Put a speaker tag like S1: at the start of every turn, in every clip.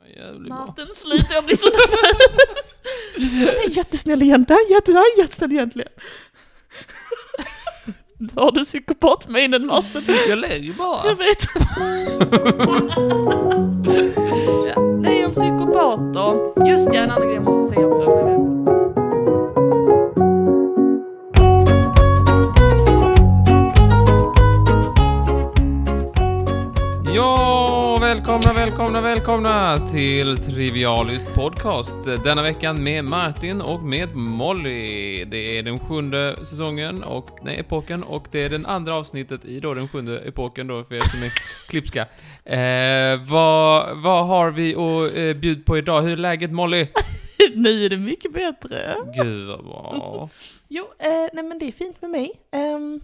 S1: det blir bra.
S2: Maten slut, jag blir så nervös.
S3: Han är jättesnäll egentligen, jätte, han är jättesnäll egentligen. Då har du psykopatminen Martin.
S1: Jag ler ju bara.
S3: Jag vet. Ja, Nej, om psykopater. Just det, en annan grej jag måste säga också.
S1: Ja, välkomna, välkomna, välkomna till Trivialist Podcast. Denna veckan med Martin och med Molly. Det är den sjunde säsongen och, nej, epoken och det är den andra avsnittet i då den sjunde epoken då för er som är klipska. Eh, vad, vad har vi att eh, bjuda på idag? Hur är läget Molly?
S3: Nu är det mycket bättre.
S1: Gud vad bra.
S3: Jo, eh, nej men det är fint med mig. Ehm,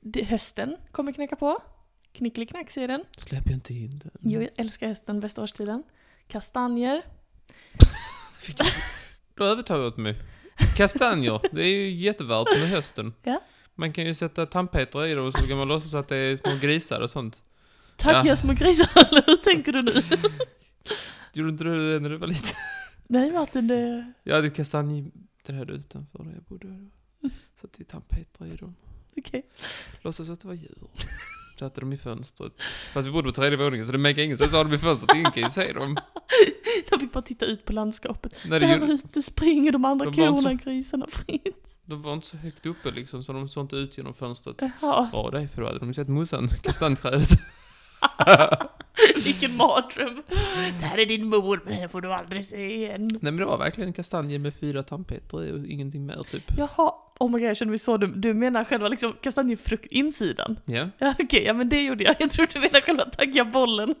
S3: det, hösten kommer knacka på. Knickeliknack säger den.
S1: Släpp inte in den.
S3: Jo, jag älskar hösten, bästa årstiden. Kastanjer.
S1: Du har övertalat mig. Kastanjer, det är ju jättevärt med hösten.
S3: Ja.
S1: Man kan ju sätta tandpetare i dem och så kan man låtsas att det är små grisar och sånt.
S3: Tack
S1: Ja.
S3: jag små grisar, eller hur tänker du nu?
S1: Gjorde inte du det när du var liten?
S3: Nej Martin, det...
S1: Jag hade ett kastanjeträd utanför där jag bodde. Satte tandpetare i dem.
S3: Okej.
S1: Låtsas att det var djur. Satte dem i fönstret. Fast vi bodde på tredje våningen så det märker ingen så jag har dem i fönstret, ingen kan ju se dem.
S3: Jag fick bara titta ut på landskapet.
S1: Nej, Mm. det
S3: Där
S1: gjorde,
S3: ute springer de andra
S1: De var inte
S3: korna, grisarna fritt.
S1: de var inte så högt uppe liksom så de såg inte ut genom fönstret.
S3: Jaha,
S1: Bra dig för då hade de ju sett mossan, kastanjeträdet.
S3: vilken mardröm. Det här är din mor, men henne får du aldrig se igen.
S1: Nej men det var verkligen en kastanje med fyra tandpetare i och ingenting mer typ.
S3: Jaha, oh my god jag känner mig så dum. Du menar själva liksom kastanjefrukt insidan?
S1: Ja.
S3: Ja okej, ja men det gjorde jag. Jag tror du menar själva taggabollen.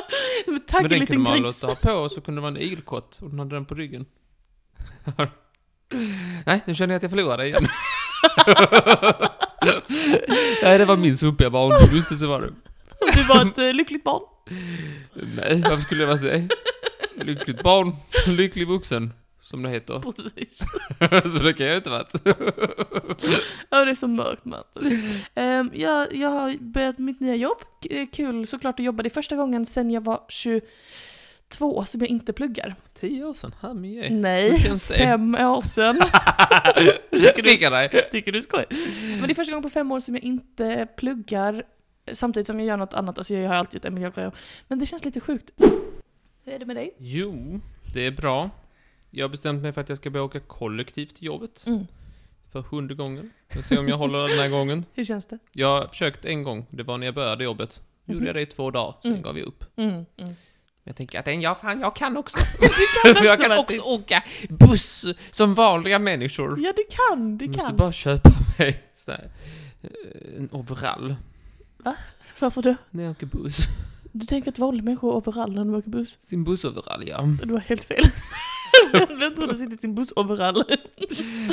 S3: Men tagg
S1: Men
S3: är
S1: den kunde
S3: en liten
S1: man
S3: gris.
S1: låta ha på och så kunde det vara en igelkott och den hade den på ryggen. Nej, nu känner jag att jag förlorade igen. Nej, det var min sumpiga barndomsvistelse var det.
S3: Du var ett eh, lyckligt barn.
S1: Nej, varför skulle jag vara det? Lyckligt barn, lycklig vuxen, som det heter.
S3: Precis.
S1: så det kan jag inte ha varit.
S3: Ja det är så mörkt Martin. Ehm, jag, jag har börjat mitt nya jobb. K- eh, Kul såklart att jobba. Det är första gången sen jag var 22 som jag inte pluggar.
S1: Tio år sedan, här med jag.
S3: Nej,
S1: Eh, hur känns det?
S3: fem år sedan. Tycker du-
S1: Fick jag dig?
S3: Tycker du skoj? Men det är första gången på fem år som jag inte pluggar eh, samtidigt som jag gör något annat. Alltså jag har alltid gjort en miljögrej. Men det känns lite sjukt. Hur är det med dig?
S1: Jo, det är bra. Jag har bestämt mig för att jag ska börja åka kollektivt till jobbet.
S3: Mm.
S1: För sjunde gången. Jag ser om jag håller den här gången.
S3: Hur känns det?
S1: Jag har försökt en gång, det var när jag började jobbet. Gjorde
S3: Mhm.
S1: jag det i två dagar, sen
S3: Mm.
S1: gav jag upp.
S3: Mm, mm.
S1: Jag tänker att en, ja, fan, jag kan också.
S3: Du kan
S1: jag kan
S3: Martin.
S1: också åka buss som vanliga människor.
S3: Ja, du kan, du
S1: Jag måste
S3: kan.
S1: bara köpa mig så här, eh, en overall
S3: Varför då?
S1: när jag åker buss.
S3: Du tänker att vanliga människor är överallt när de åker buss?
S1: Sin bussoverall, ja.
S3: Du har helt fel. Vem tror du sitter i sin buss overall?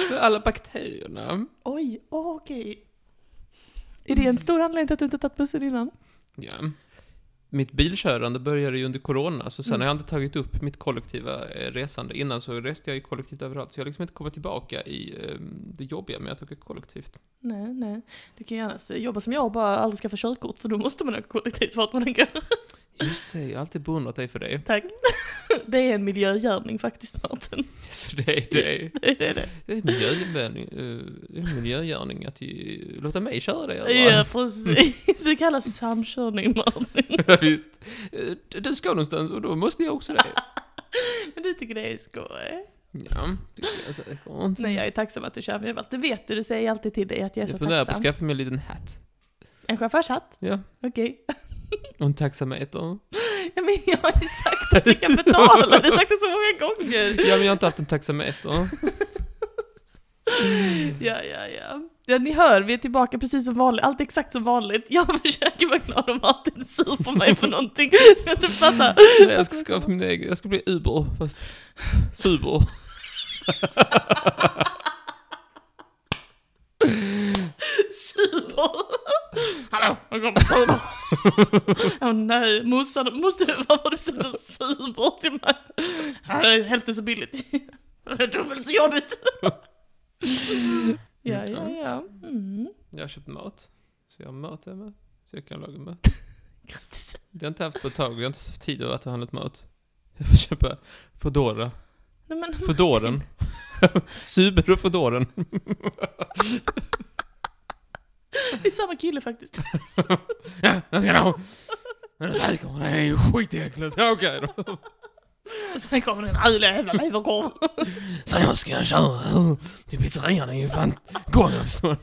S1: Med alla bakterierna.
S3: Oj, oh, okej. Är det en stor anledning till att du inte tagit bussen innan?
S1: Ja. Mitt bilkörande började ju under corona, så sen
S3: Mm.
S1: har jag inte tagit upp mitt kollektiva eh, resande. Innan så reste jag ju kollektivt överallt, så jag har liksom inte kommit tillbaka i eh, det jobbiga med att åka kollektivt.
S3: Nej, nej. Du kan ju annars jobba som jag och bara aldrig skaffa körkort för då måste man åka kollektivt vart man än går.
S1: Just det, jag har alltid beundrat dig för det.
S3: Tack. Det är en miljögärning faktiskt, Martin.
S1: Så det är det.
S3: Det är det.
S1: Det är en miljövänlig, eh, det är en miljögärning att ju, låta mig köra det.
S3: Ja,
S1: eller?
S3: precis. Det kallas samkörning, Martin.
S1: Visst. Eh, Du ska någonstans och då måste jag också det.
S3: Men du tycker det är skoj?
S1: Ja, det är så här skönt.
S3: Nej, jag är tacksam att du kör med överallt. Det vet du, det säger jag alltid till dig att jag är så
S1: Jag funderar på att
S3: tacksam.
S1: skaffa mig en liten hatt.
S3: En chaufförshatt?
S1: Ja,
S3: Okej.
S1: och en taxameter.
S3: Ja, men jag har ju sagt att du kan betala, det har sagt det så många gånger.
S1: Ja, men jag har inte haft en taxameter.
S3: Ja, ja, ja. Ja, ni hör, vi är tillbaka precis som vanligt, allt är exakt som vanligt. Jag försöker vara glad om Martin är sur på mig för någonting som jag inte fattar.
S1: Nej, jag ska skaffa min egen, jag ska bli Uber, fast Suber.
S3: Super!
S1: Hallå,
S3: jag kommer sur. Åh nej, morsan, måste varför har du beställt en super till mig? Här är hälften så billigt. Det är dubbelt så jobbigt. Ja, ja, ja. Mm.
S1: Jag har köpt mat, så jag har mat hemma, så jag kan laga mat.
S3: Grattis.
S1: Det har jag inte haft på ett tag, jag har inte haft tid att handla mat. Jag får köpa Foodora.
S3: Nej, men,
S1: Foodoren. Subaru Foodoren.
S3: det är samma kille faktiskt.
S1: Ja, den ska du ha. Är du säker? Det är ju skitäckligt. Ja, Okej då.
S3: Här kommer den röda jävla leverkorven.
S1: Så jag ska köra till pizzerian. Det är ju fan Golofsson.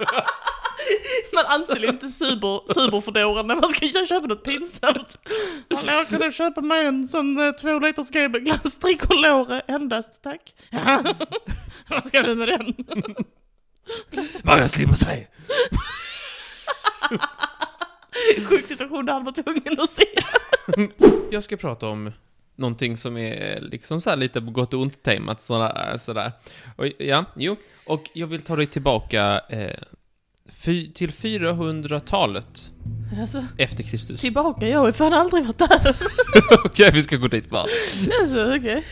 S3: Man anställer inte super, superfördoran när man ska kö- köpa något pinsamt. Hallå, kan du köpa mig en sån eh, två liters GB-glass tricolore endast, tack? Vad ska du med den?
S1: Bara jag slipper säga.
S3: Sjuk situation där han var tvungen att se.
S1: Jag ska prata om någonting som är liksom så här lite på gott och ont-temat. Sådär, eh, sådär. Och, ja, jo. Och jag vill ta dig tillbaka eh, fy, till 400-talet
S3: Alltså,
S1: efter Kristus.
S3: tillbaka, jag har ju fan aldrig varit där.
S1: Okej, vi ska gå dit bara.
S3: Alltså, okej.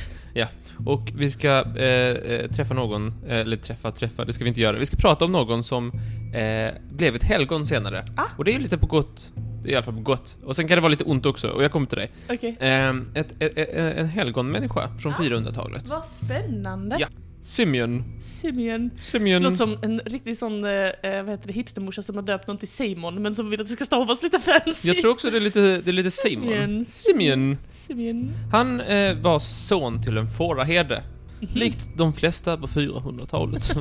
S1: Och vi ska eh, eh, träffa någon, eh, eller träffa, träffa, det ska vi inte göra. Vi ska prata om någon som eh, blev ett helgon senare.
S3: Ah.
S1: Och det är ju lite på gott, det är i alla fall på gott. Och sen kan det vara lite ont också, och jag kommer till dig.
S3: Okej.
S1: Eh, ett, ett, ett, en helgonmänniska från
S3: Ah.
S1: 400-talet.
S3: Vad spännande.
S1: Ja. Mm. Simeon.
S3: Simeon.
S1: Simeon.
S3: Låter som en riktig sån, eh, eh, vad heter det, hipstermorsa som har döpt någon till Simon men som vill att det ska stavas lite fancy.
S1: Jag tror också det är lite, det är lite Simon.
S3: Simeon.
S1: Simeon.
S3: Simeon.
S1: Han eh, var son till en fåraherde. Likt de flesta på 400-talet.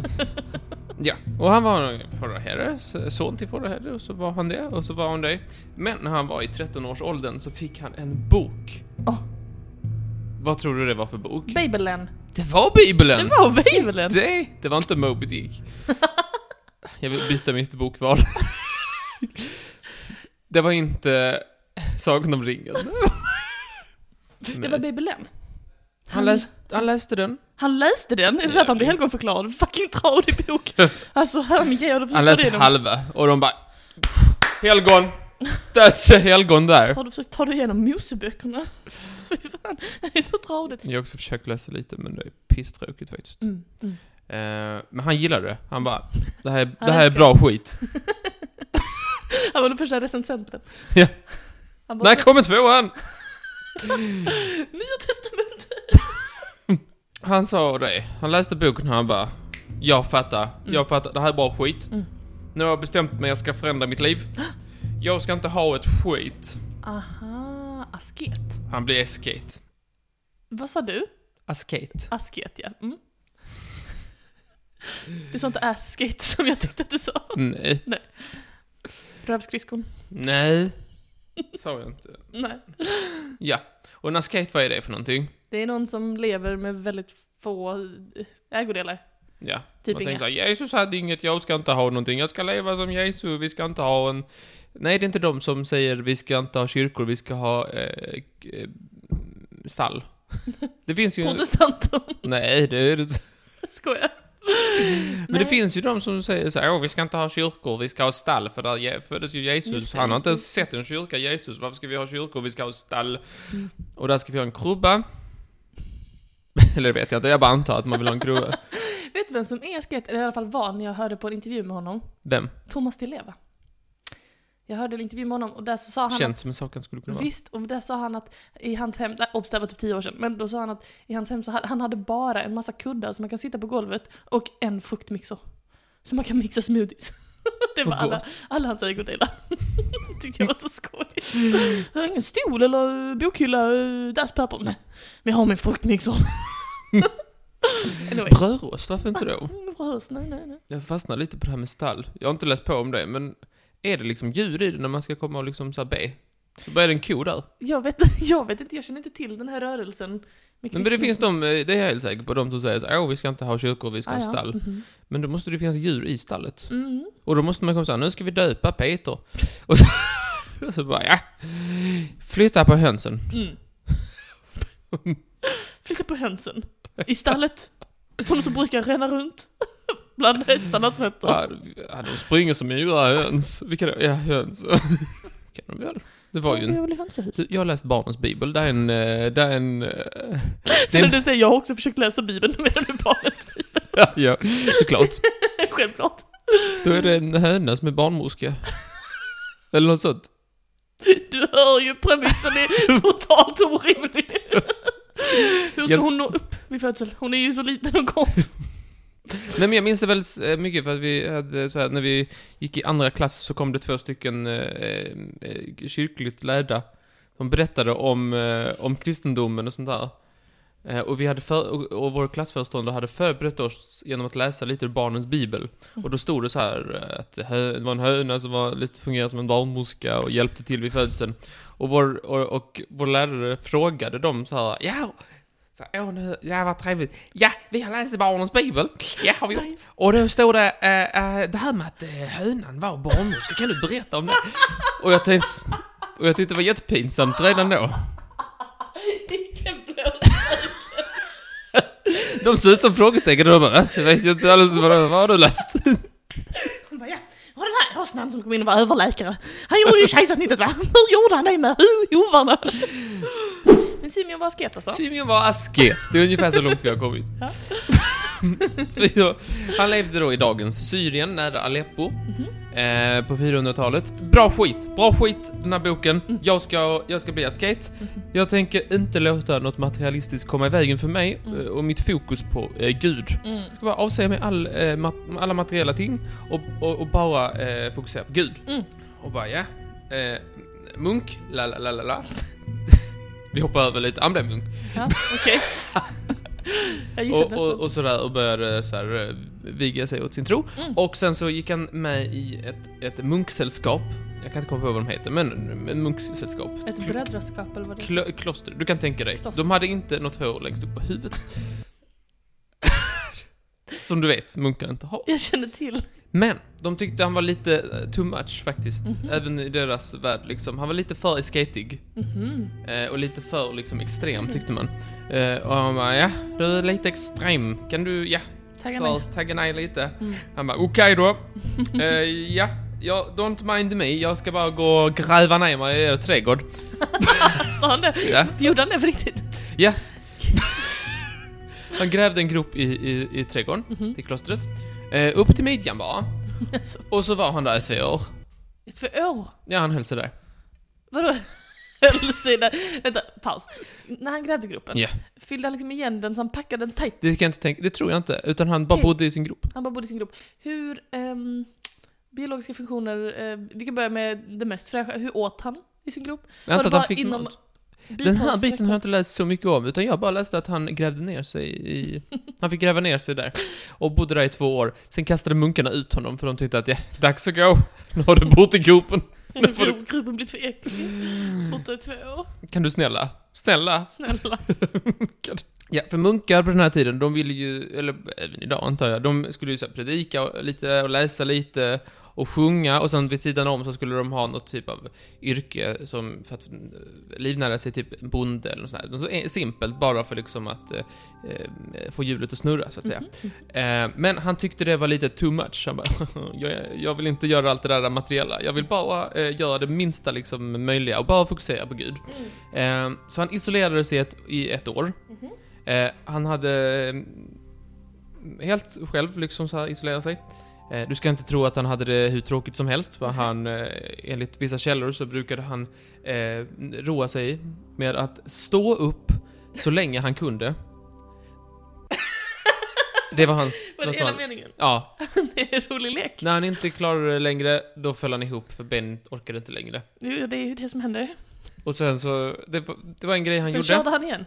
S1: ja, och han var en fåraherde, s- son till fåraherde, och så var han det, och så var hon det. Men när han var i 13-årsåldern så fick han en bok.
S3: Åh.
S1: Vad tror du det var för bok?
S3: Babelen.
S1: det var Bibeln!
S3: Det var Babelen.
S1: Det, det var inte Moby Dick. Jag vill byta mitt bokval. Det var inte Sagan om ringen.
S3: Det
S1: Nej.
S3: var Babelen.
S1: Han, läst, han läste den.
S3: Han läste den, är det därför han blev helgonförklarad? Fucking tradig bok! Alltså herregud, du
S1: Han
S3: försökt ta
S1: läste
S3: dig igenom...
S1: halva och de bara Helgon! That's a helgon där.
S3: Har du försökt ta dig igenom Moseböckerna? Fy fan, det är så tradigt.
S1: Jag har också försökt läsa lite men det är pisstråkigt faktiskt.
S3: Mm, mm.
S1: Eh, men han gillade det. Han bara Det här,
S3: Han
S1: det här är
S3: älskar
S1: bra skit.
S3: Han var den första recensenten.
S1: Ja.
S3: Han bara,
S1: Där kommer tvåan!
S3: Nya testamentet!
S1: Han sa det. Han läste boken och han bara Jag fattar. Jag fattar. Det här är bara skit.
S3: Mm.
S1: Nu har jag bestämt mig. Jag ska förändra mitt liv. Jag ska inte ha ett skit.
S3: Aha, asket.
S1: Han blir esket.
S3: Vad sa du?
S1: Asket.
S3: Asket, ja. Mm. Du sa inte asket som jag tyckte att du sa.
S1: Nej.
S3: Rövskridskon.
S1: Nej. Sa jag inte.
S3: Nej.
S1: Ja. Och en asket, vad är det för någonting?
S3: Det är någon som lever med väldigt få eh, ägodelar.
S1: Ja.
S3: Typ
S1: Man tänker
S3: inga.
S1: så här, Jesus hade inget. Jag ska inte ha någonting. Jag ska leva som Jesus. Vi ska inte ha en... Nej, det är inte de som säger vi ska inte ha kyrkor. Vi ska ha eh, k- eh, stall. Det finns ju...
S3: Protestanter.
S1: Nej, det är det inte.
S3: Skojar.
S1: Men det finns ju de som säger så här, "Åh, vi ska inte ha kyrkor, vi ska ha stall, för där Je- föddes ju Jesus.
S3: Just det,
S1: Han har
S3: just
S1: inte
S3: det.
S1: ens sett en kyrka, Jesus. Varför ska vi ha kyrkor? Vi ska ha stall.
S3: Mm.
S1: Och där ska vi ha en krubba. Eller det vet jag inte, jag bara antar att man vill ha en krubba.
S3: Vet du vem som är asket? Eller i alla fall var när jag hörde på en intervju med honom.
S1: Vem?
S3: Thomas Di Leva. Jag hörde en intervju med honom och där så sa han
S1: Känns som en sak han skulle kunna
S3: att,
S1: vara.
S3: Visst, och där sa han att i hans hem, nej, obs, det var typ tio år sedan, men då sa han att i hans hem så hade han hade bara en massa kuddar som man kan sitta på golvet och en fruktmixer. Så man kan mixa smoothies. Det var
S1: Vad
S3: alla, alla hans ägodelar. Tyckte jag var så skoj. Jag har ingen stol eller eh, bokhylla, eh, dasspapper. Nej, men jag har min fruktmixer. anyway.
S1: Brödrost, varför inte då?
S3: Bröst, nej, nej, nej.
S1: Jag fastnar lite på det här med stall. Jag har inte läst på om det, men är det liksom djur i det när man ska komma och liksom så här be? Så bara är det en ko där.
S3: Jag vet, jag vet inte, jag känner inte till den här rörelsen. med
S1: Men det
S3: kristendom.
S1: finns de, eh, det är jag helt säker på, de som säger så här, "Åh, vi ska inte ha kyrkor, vi ska
S3: Ah,
S1: ha
S3: ja.
S1: stall.
S3: Mhm.
S1: Men då måste det finnas djur i stallet.
S3: Mm.
S1: Och då måste man komma såhär, nu ska vi döpa Peter. Och så, och så bara, ja. Flytta på hönsen.
S3: Mm. Flytta på hönsen. I stallet. Som så brukar ränna runt. Bland hästarnas fötter.
S1: Ja, ja, de springer som yra höns. Vilka då? Ja, höns. kan de väl? Det var ju
S3: Jag
S1: en...
S3: vill i hönshus.
S1: Jag har läst barnens bibel, det är en... eh, Det är en... eh,
S3: Så
S1: det är
S3: när
S1: en
S3: du säger jag har också försökt läsa bibeln med den barnets bibel.
S1: ja, ja, såklart.
S3: Självklart.
S1: Då är det en höna som är barnmorska. Eller något sånt.
S3: Du hör ju premissen är totalt orimlig.
S4: Hur ska
S1: Jag-
S4: hon nå upp vid födsel? Hon är ju så liten och kort.
S1: Nej men jag minns det väldigt eh, mycket för att vi hade så här, när vi gick i andra klass så kom det två stycken eh, eh, kyrkligt lärda som berättade om, eh, om kristendomen och sånt där. Eh, och, vi hade för, och, och vår klassföreståndare hade förberett oss genom att läsa lite ur barnens bibel. Och då stod det så här eh, att hö, det var en höna som var lite fungerade som en barnmorska och hjälpte till vid födseln. Och vår, och, och vår lärare frågade dem så här, ja, så, här, åh, nu, ja vad trevligt. Ja, vi har läst i barnens bibel. Ja, har vi gjort. Och då stod det, eh, eh, det här med att eh, hönan var barnmorska, kan du berätta om det? Och jag tänkte, och jag tyckte det var jättepinsamt redan då.
S3: Vilken blås.
S1: De såg ut som frågetecken och de bara, "Eh, jag vet ju inte alls vad, vad har du läst?
S4: Hon bara, ja. Och den här åsnan som kom in och var överläkare. Han gjorde ju kejsarsnittet va? Hur gjorde han det med ho- hovarna?
S3: Men Symeon var asket alltså?
S1: Symeon var asket, det är ungefär så långt vi har kommit. För jag- Han levde då i dagens Syrien, nära Aleppo,
S3: Mhm.
S1: eh, på 400-talet. Bra skit, bra skit den här boken.
S3: Mm.
S1: Jag, ska, jag ska bli asket.
S3: Mhm.
S1: Jag tänker inte låta något materialistiskt komma i vägen för mig eh, och mitt fokus på eh, Gud.
S3: Mm.
S1: Jag ska bara avsäga mig all, eh, mat, alla materiella ting och, och, och bara eh, fokusera på Gud.
S3: Mm.
S1: Och bara ja, eh, munk, la la la la la. Vi hoppar över lite, han blev munk.
S3: Ja, okej. Jag gissade
S1: Och,
S3: nästan.
S1: och, och sådär och började så här, eh, viga sig åt sin tro.
S3: Mm.
S1: Och sen så gick han med i ett, ett munksällskap. Jag kan inte komma på vad de heter, men ett munksällskap.
S3: Ett brödraskap eller vad det är?
S1: Klo, kloster, du kan tänka dig.
S3: Kloster.
S1: De hade inte något hår längst upp på huvudet. Som du vet, munkar inte har.
S3: Jag känner till.
S1: Men de tyckte han var lite eh, too much faktiskt, även i deras värld liksom. Han var lite för skatig
S3: Mhm.
S1: eh, och lite för liksom extrem tyckte man. Eh, och han bara, ja, du är lite extrem, kan du, ja,
S3: Tagga
S1: så,
S3: ner.
S1: tagga nej lite.
S3: Mm.
S1: Han bara, okej då. Eh, ja, ja, don't mind me, jag ska bara gå och gräva ner mig i er trädgård.
S3: Sa han det?
S1: Ja,
S3: Gjorde han det på riktigt?
S1: ja. Han grävde en grop i, i, i trädgården,
S3: Mhm.
S1: till klostret. Eh, upp till midjan bara.
S3: Alltså,
S1: Och så var han där i två år.
S3: i två år?
S1: Ja, han höll sig där.
S3: Vadå? Höll sig där. Vänta, paus. När han grävde gropen,
S1: Ja.
S3: fyllde han liksom igen den så han packade den tajt?
S1: Det kan jag inte tänka, det tror jag inte. Utan han bara
S3: Okej.
S1: bodde i sin grop.
S3: Han bara bodde i sin grop. Hur, ehm, biologiska funktioner, eh, vi kan börja med det mest fräscha. Hur åt han i sin grop?
S1: Jag antar
S3: det
S1: att han
S3: bara
S1: fick
S3: inom
S1: mat. Den här biten har jag inte läst så mycket om, utan jag bara läste att han grävde ner sig i... Han fick gräva ner sig där. Och bodde där i två år. Sen kastade munkarna ut honom för de tyckte att ja, dags att gå. Nu har du bott i gropen.
S3: Nu får du... Gropen blivit för äcklig. Borta i två år.
S1: Kan du snälla? Snälla?
S3: Snälla.
S1: Ja, för munkar på den här tiden, de ville ju, eller även idag antar jag, de skulle ju så här predika och- lite och läsa lite och sjunga och sen vid sidan om så skulle de ha något typ av yrke som för att eh, livnära sig, typ bonde eller något sånt här. Så eh, simpelt, bara för liksom att eh, eh, få hjulet att snurra så att säga. Eh, men han tyckte det var lite too much. Han bara, jag, jag vill inte göra allt det där materiella. Jag vill bara eh, göra det minsta liksom möjliga och bara fokusera på Gud. Eh, så han isolerade sig ett, i ett år. Eh, han hade eh, helt själv liksom så här isolerat sig. Eh, du ska inte tro att han hade det hur tråkigt som helst, för han, eh, enligt vissa källor så brukade han eh, roa sig med att stå upp så länge han kunde. Det var hans...
S3: Var
S1: vad
S3: det
S1: sa
S3: hela
S1: han?
S3: meningen?
S1: Ja,
S3: Det är en rolig lek.
S1: när han inte klarade det längre, då föll han ihop för Ben orkade inte längre.
S3: Jo, det är ju det som händer.
S1: Och sen så, det, var- det var en grej han
S3: Sen
S1: gjorde.
S3: körde han igen.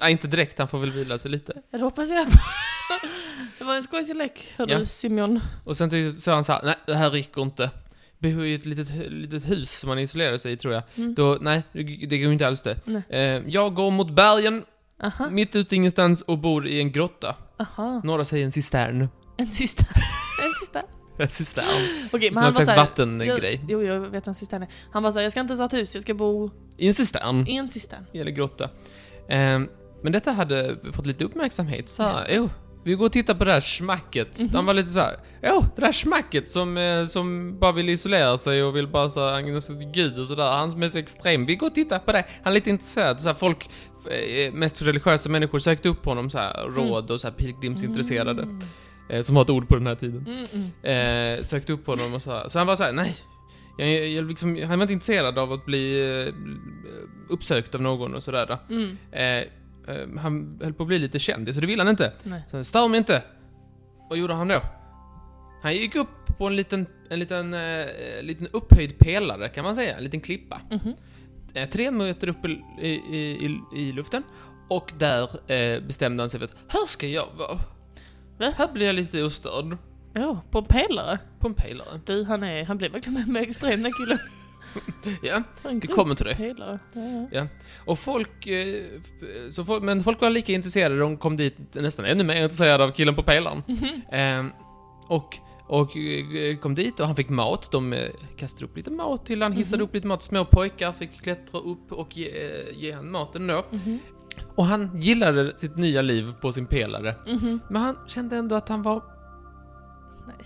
S1: Nej, inte direkt, han får väl vila sig lite.
S3: Ja, det hoppas jag. Det var en skojsig lek, hörde
S1: Ja.
S3: du Simeon.
S1: Och sen tyckte- sa han så här, nej det här räcker inte. Bor i ett litet, litet hus som han isolerade sig i tror jag.
S3: Mm.
S1: Då, nej, det det går ju inte alls det.
S3: Nej.
S1: Eh, jag går mot bergen,
S3: Aha,
S1: mitt ute ingenstans och bor i en grotta.
S3: aha.
S1: Några säger en cistern.
S3: En sista. En sista.
S1: En cistern.
S3: Okej, men
S1: Någon
S3: han var
S1: slags
S3: såhär...
S1: vattengrej.
S3: Jo, jag vet vad en cistern är. Han var såhär, jag ska inte ens ha ett hus, jag ska bo
S1: I en cistern,
S3: i en cistern.
S1: eller grotta. Eh, men detta hade fått lite uppmärksamhet. Så
S3: Just
S1: här, "Jo, vi går och tittar på det här smacket. Han var lite så här, jo, det där smacket som, eh, som bara vill isolera sig och vill bara så här, ägna sig åt Gud och sådär. Han som är så extrem, vi går och tittar på det. Han är lite intresserad. Så här, folk, eh, mest religiösa människor sökte upp honom så här, råd och så här pilgrimsintresserade. Eh, som har ett ord på den här tiden.
S3: Mm, mm.
S1: Eh, sökte upp honom och så här. Så han var så här, nej. jag, jag, liksom, han var inte intresserad av att bli eh, uppsökt av någon och sådär.
S3: Mm.
S1: Eh, eh, han höll på att bli lite kändis och det ville han inte.
S3: Nej.
S1: Så stör mig inte! Vad gjorde han då? Han gick upp på en liten, en liten, eh, liten upphöjd pelare kan man säga, en liten klippa.
S3: Mhm.
S1: Eh, tre meter upp i, i, i, i luften. Och där eh, bestämde han sig för att här ska jag vara.
S3: Va?
S1: Här blir jag lite ostörd.
S3: Ja, på en pelare.
S1: På en pelare.
S3: Du, han, är, han blev verkligen med, med extrema killar.
S1: Ja,
S3: Han
S1: det kommer till det.
S3: Pelare. Ja, ja.
S1: Och folk, eh, f- så folk, men folk var lika intresserade, de kom dit nästan ännu mer intresserade av killen på pelaren. Eh, och och eh, kom dit och han fick mat, de eh, kastade upp lite mat till han, hissade upp lite mat, små pojkar fick klättra upp och ge, eh, ge han maten då.
S3: Mhm.
S1: Och han gillade sitt nya liv på sin pelare.
S3: Mhm.
S1: Men han kände ändå att han var
S3: Nej.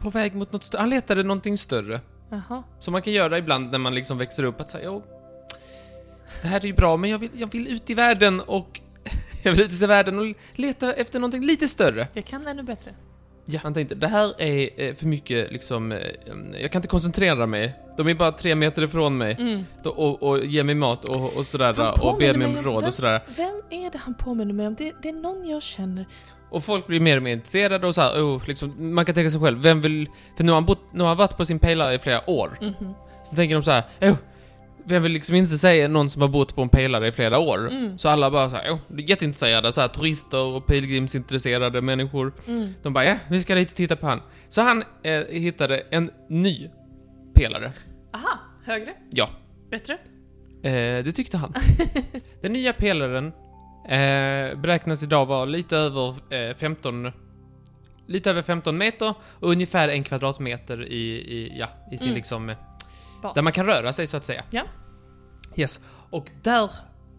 S1: på väg mot något större, han letade någonting större.
S3: Jaha.
S1: Som man kan göra ibland när man liksom växer upp, att säga "Jo, det här är ju bra, men jag vill, jag vill ut i världen och jag vill ut i världen och leta efter någonting lite större.
S3: Jag kan ännu bättre.
S1: Ja. Han tänkte, det här är eh, för mycket liksom, eh, jag kan inte koncentrera mig. De är bara tre meter ifrån mig
S3: Mm.
S1: Då- och, och ger mig mat och, och
S3: Han
S1: sådär och ber
S3: påminner
S1: mig
S3: mig
S1: om
S3: om
S1: råd
S3: vem-
S1: och sådär.
S3: Vem är det han påminner mig om? Det, det är någon jag känner.
S1: Och folk blir mer och mer intresserade och så här, oh, liksom, man kan tänka sig själv, vem vill... För nu har han, bott, nu har han varit på sin pelare i flera år.
S3: Mhm.
S1: Så tänker de så här, oh, vem vill liksom inte säga någon som har bott på en pelare i flera år?
S3: Mm.
S1: Så alla bara så här, oh, det är jätteintresserade, så här, turister och pilgrimsintresserade människor.
S3: Mm.
S1: De bara, ja, vi ska dit och titta på han. Så han eh, hittade en ny pelare.
S3: Aha, högre?
S1: Ja,
S3: Bättre?
S1: eh, det tyckte han. Den nya pelaren eh, beräknas idag vara lite över eh, 15 Lite över 15 meter och ungefär en kvadratmeter i, i, ja, i sin
S3: Mm.
S1: liksom eh,
S3: Bas.
S1: Där man kan röra sig så att säga.
S3: Ja.
S1: Yes. Och där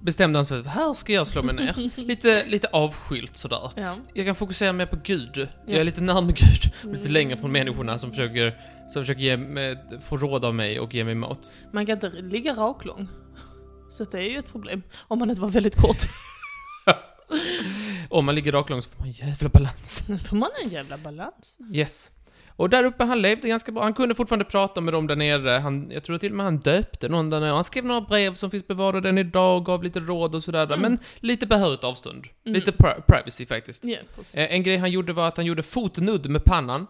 S1: bestämde han sig för här ska jag slå mig ner. lite, lite avskilt sådär.
S3: Ja.
S1: Jag kan fokusera mer på Gud. Jag
S3: Ja. Mm.
S1: är lite närmare Gud och lite längre från människorna som försöker, som försöker ge mig, få råd av mig och ge mig mat.
S3: Man kan inte ligga raklång. Så det är ju ett problem. Om man inte var väldigt kort.
S1: Om man ligger raklång så får man jävla balans.
S3: Nu får man en jävla balans.
S1: Yes. Och där uppe, han levde ganska bra. Han kunde fortfarande prata med dem där nere. Han, jag tror till och med han döpte någon där nere. Han skrev några brev som finns bevarade än idag, gav lite råd och sådär.
S3: Mm.
S1: Men lite behörigt avstånd.
S3: Mm.
S1: Lite pri- privacy faktiskt.
S3: Ja, precis.
S1: Eh, En grej han gjorde var att han gjorde fotnudd med pannan.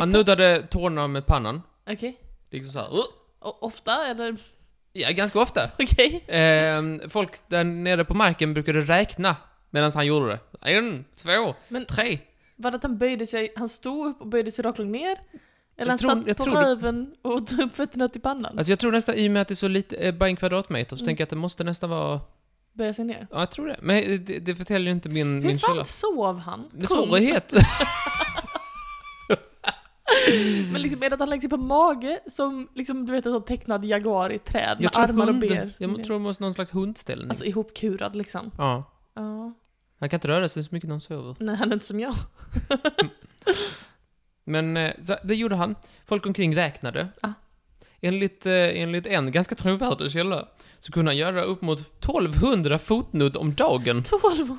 S1: Han nuddade tårna med pannan.
S3: Okej.
S1: Liksom såhär. "Ugh."
S3: Och ofta är det...
S1: Ja, ganska ofta.
S3: Okej.
S1: Ehm, folk där nere på marken brukade räkna medan han gjorde det. En, två,
S3: Men-
S1: tre.
S3: Var det att han böjde sig, han stod upp och böjde sig raklång ner? Eller han
S1: tror- jag
S3: satt på
S1: tror det-
S3: röven och tog upp fötterna till pannan?
S1: Alltså jag tror nästan, i och med att det är så lite, eh, bara en kvadratmeter, så
S3: Mm.
S1: tänker jag att det måste nästan vara...
S3: Böjde sig ner?
S1: Ja, jag tror det. Men eh, det, det förtäljer inte min,
S3: Hur
S1: min
S3: fan
S1: källa.
S3: sov han?
S1: Det är
S3: Kung.
S1: svårighet.
S3: Men liksom är det att han lägger sig på mage som liksom, du vet, en sån tecknad jaguar i träd
S1: Jag
S3: med
S1: tror
S3: armar och
S1: hunden- Jag
S3: ben?
S1: tror det måste någon slags hundställning.
S3: Alltså ihopkurad liksom.
S1: Ja.
S3: Ja.
S1: Han kan inte röra sig så mycket när han sover.
S3: Nej, han är inte som jag.
S1: Men eh, så, det gjorde han. Folk omkring räknade.
S3: Ah.
S1: Enligt, eh, enligt en ganska trovärdig källa så kunde han göra upp mot 1200 fotnudd om dagen.
S3: 1200? 1200?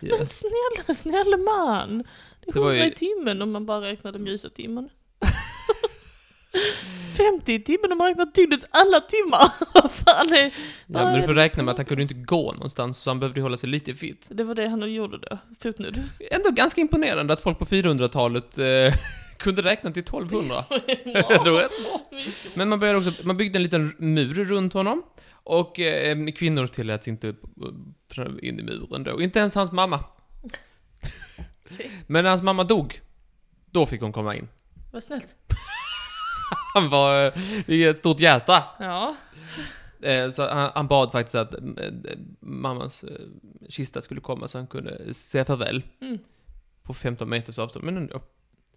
S1: Ja.
S3: Men snälla, snälla man! Det är
S1: Det var
S3: 100
S1: ju-
S3: i timmen om man bara räknar den ljusa timmen. 50 i timmen om man räknar dygnets alla timmar! Vad fan är...
S1: Ja, men du får räkna med att han kunde inte gå någonstans så han behövde hålla sig lite fit.
S3: Det var det han gjorde då, fotnud.
S1: Ändå ganska imponerande att folk på 400-talet eh, kunde räkna till 1200. Ändå rätt bra. Men man, började också, man byggde en liten mur runt honom. Och eh, kvinnor tilläts inte upp- upp- in i muren då. Inte ens hans mamma. Men när hans mamma dog, då fick hon komma in.
S3: Vad snällt.
S1: Han var eh, i ett stort hjärta.
S3: Ja.
S1: Eh, Så han, han bad faktiskt att eh, mammans eh, kista skulle komma så han kunde säga farväl.
S3: Mm.
S1: På 15 meters avstånd, men ändå.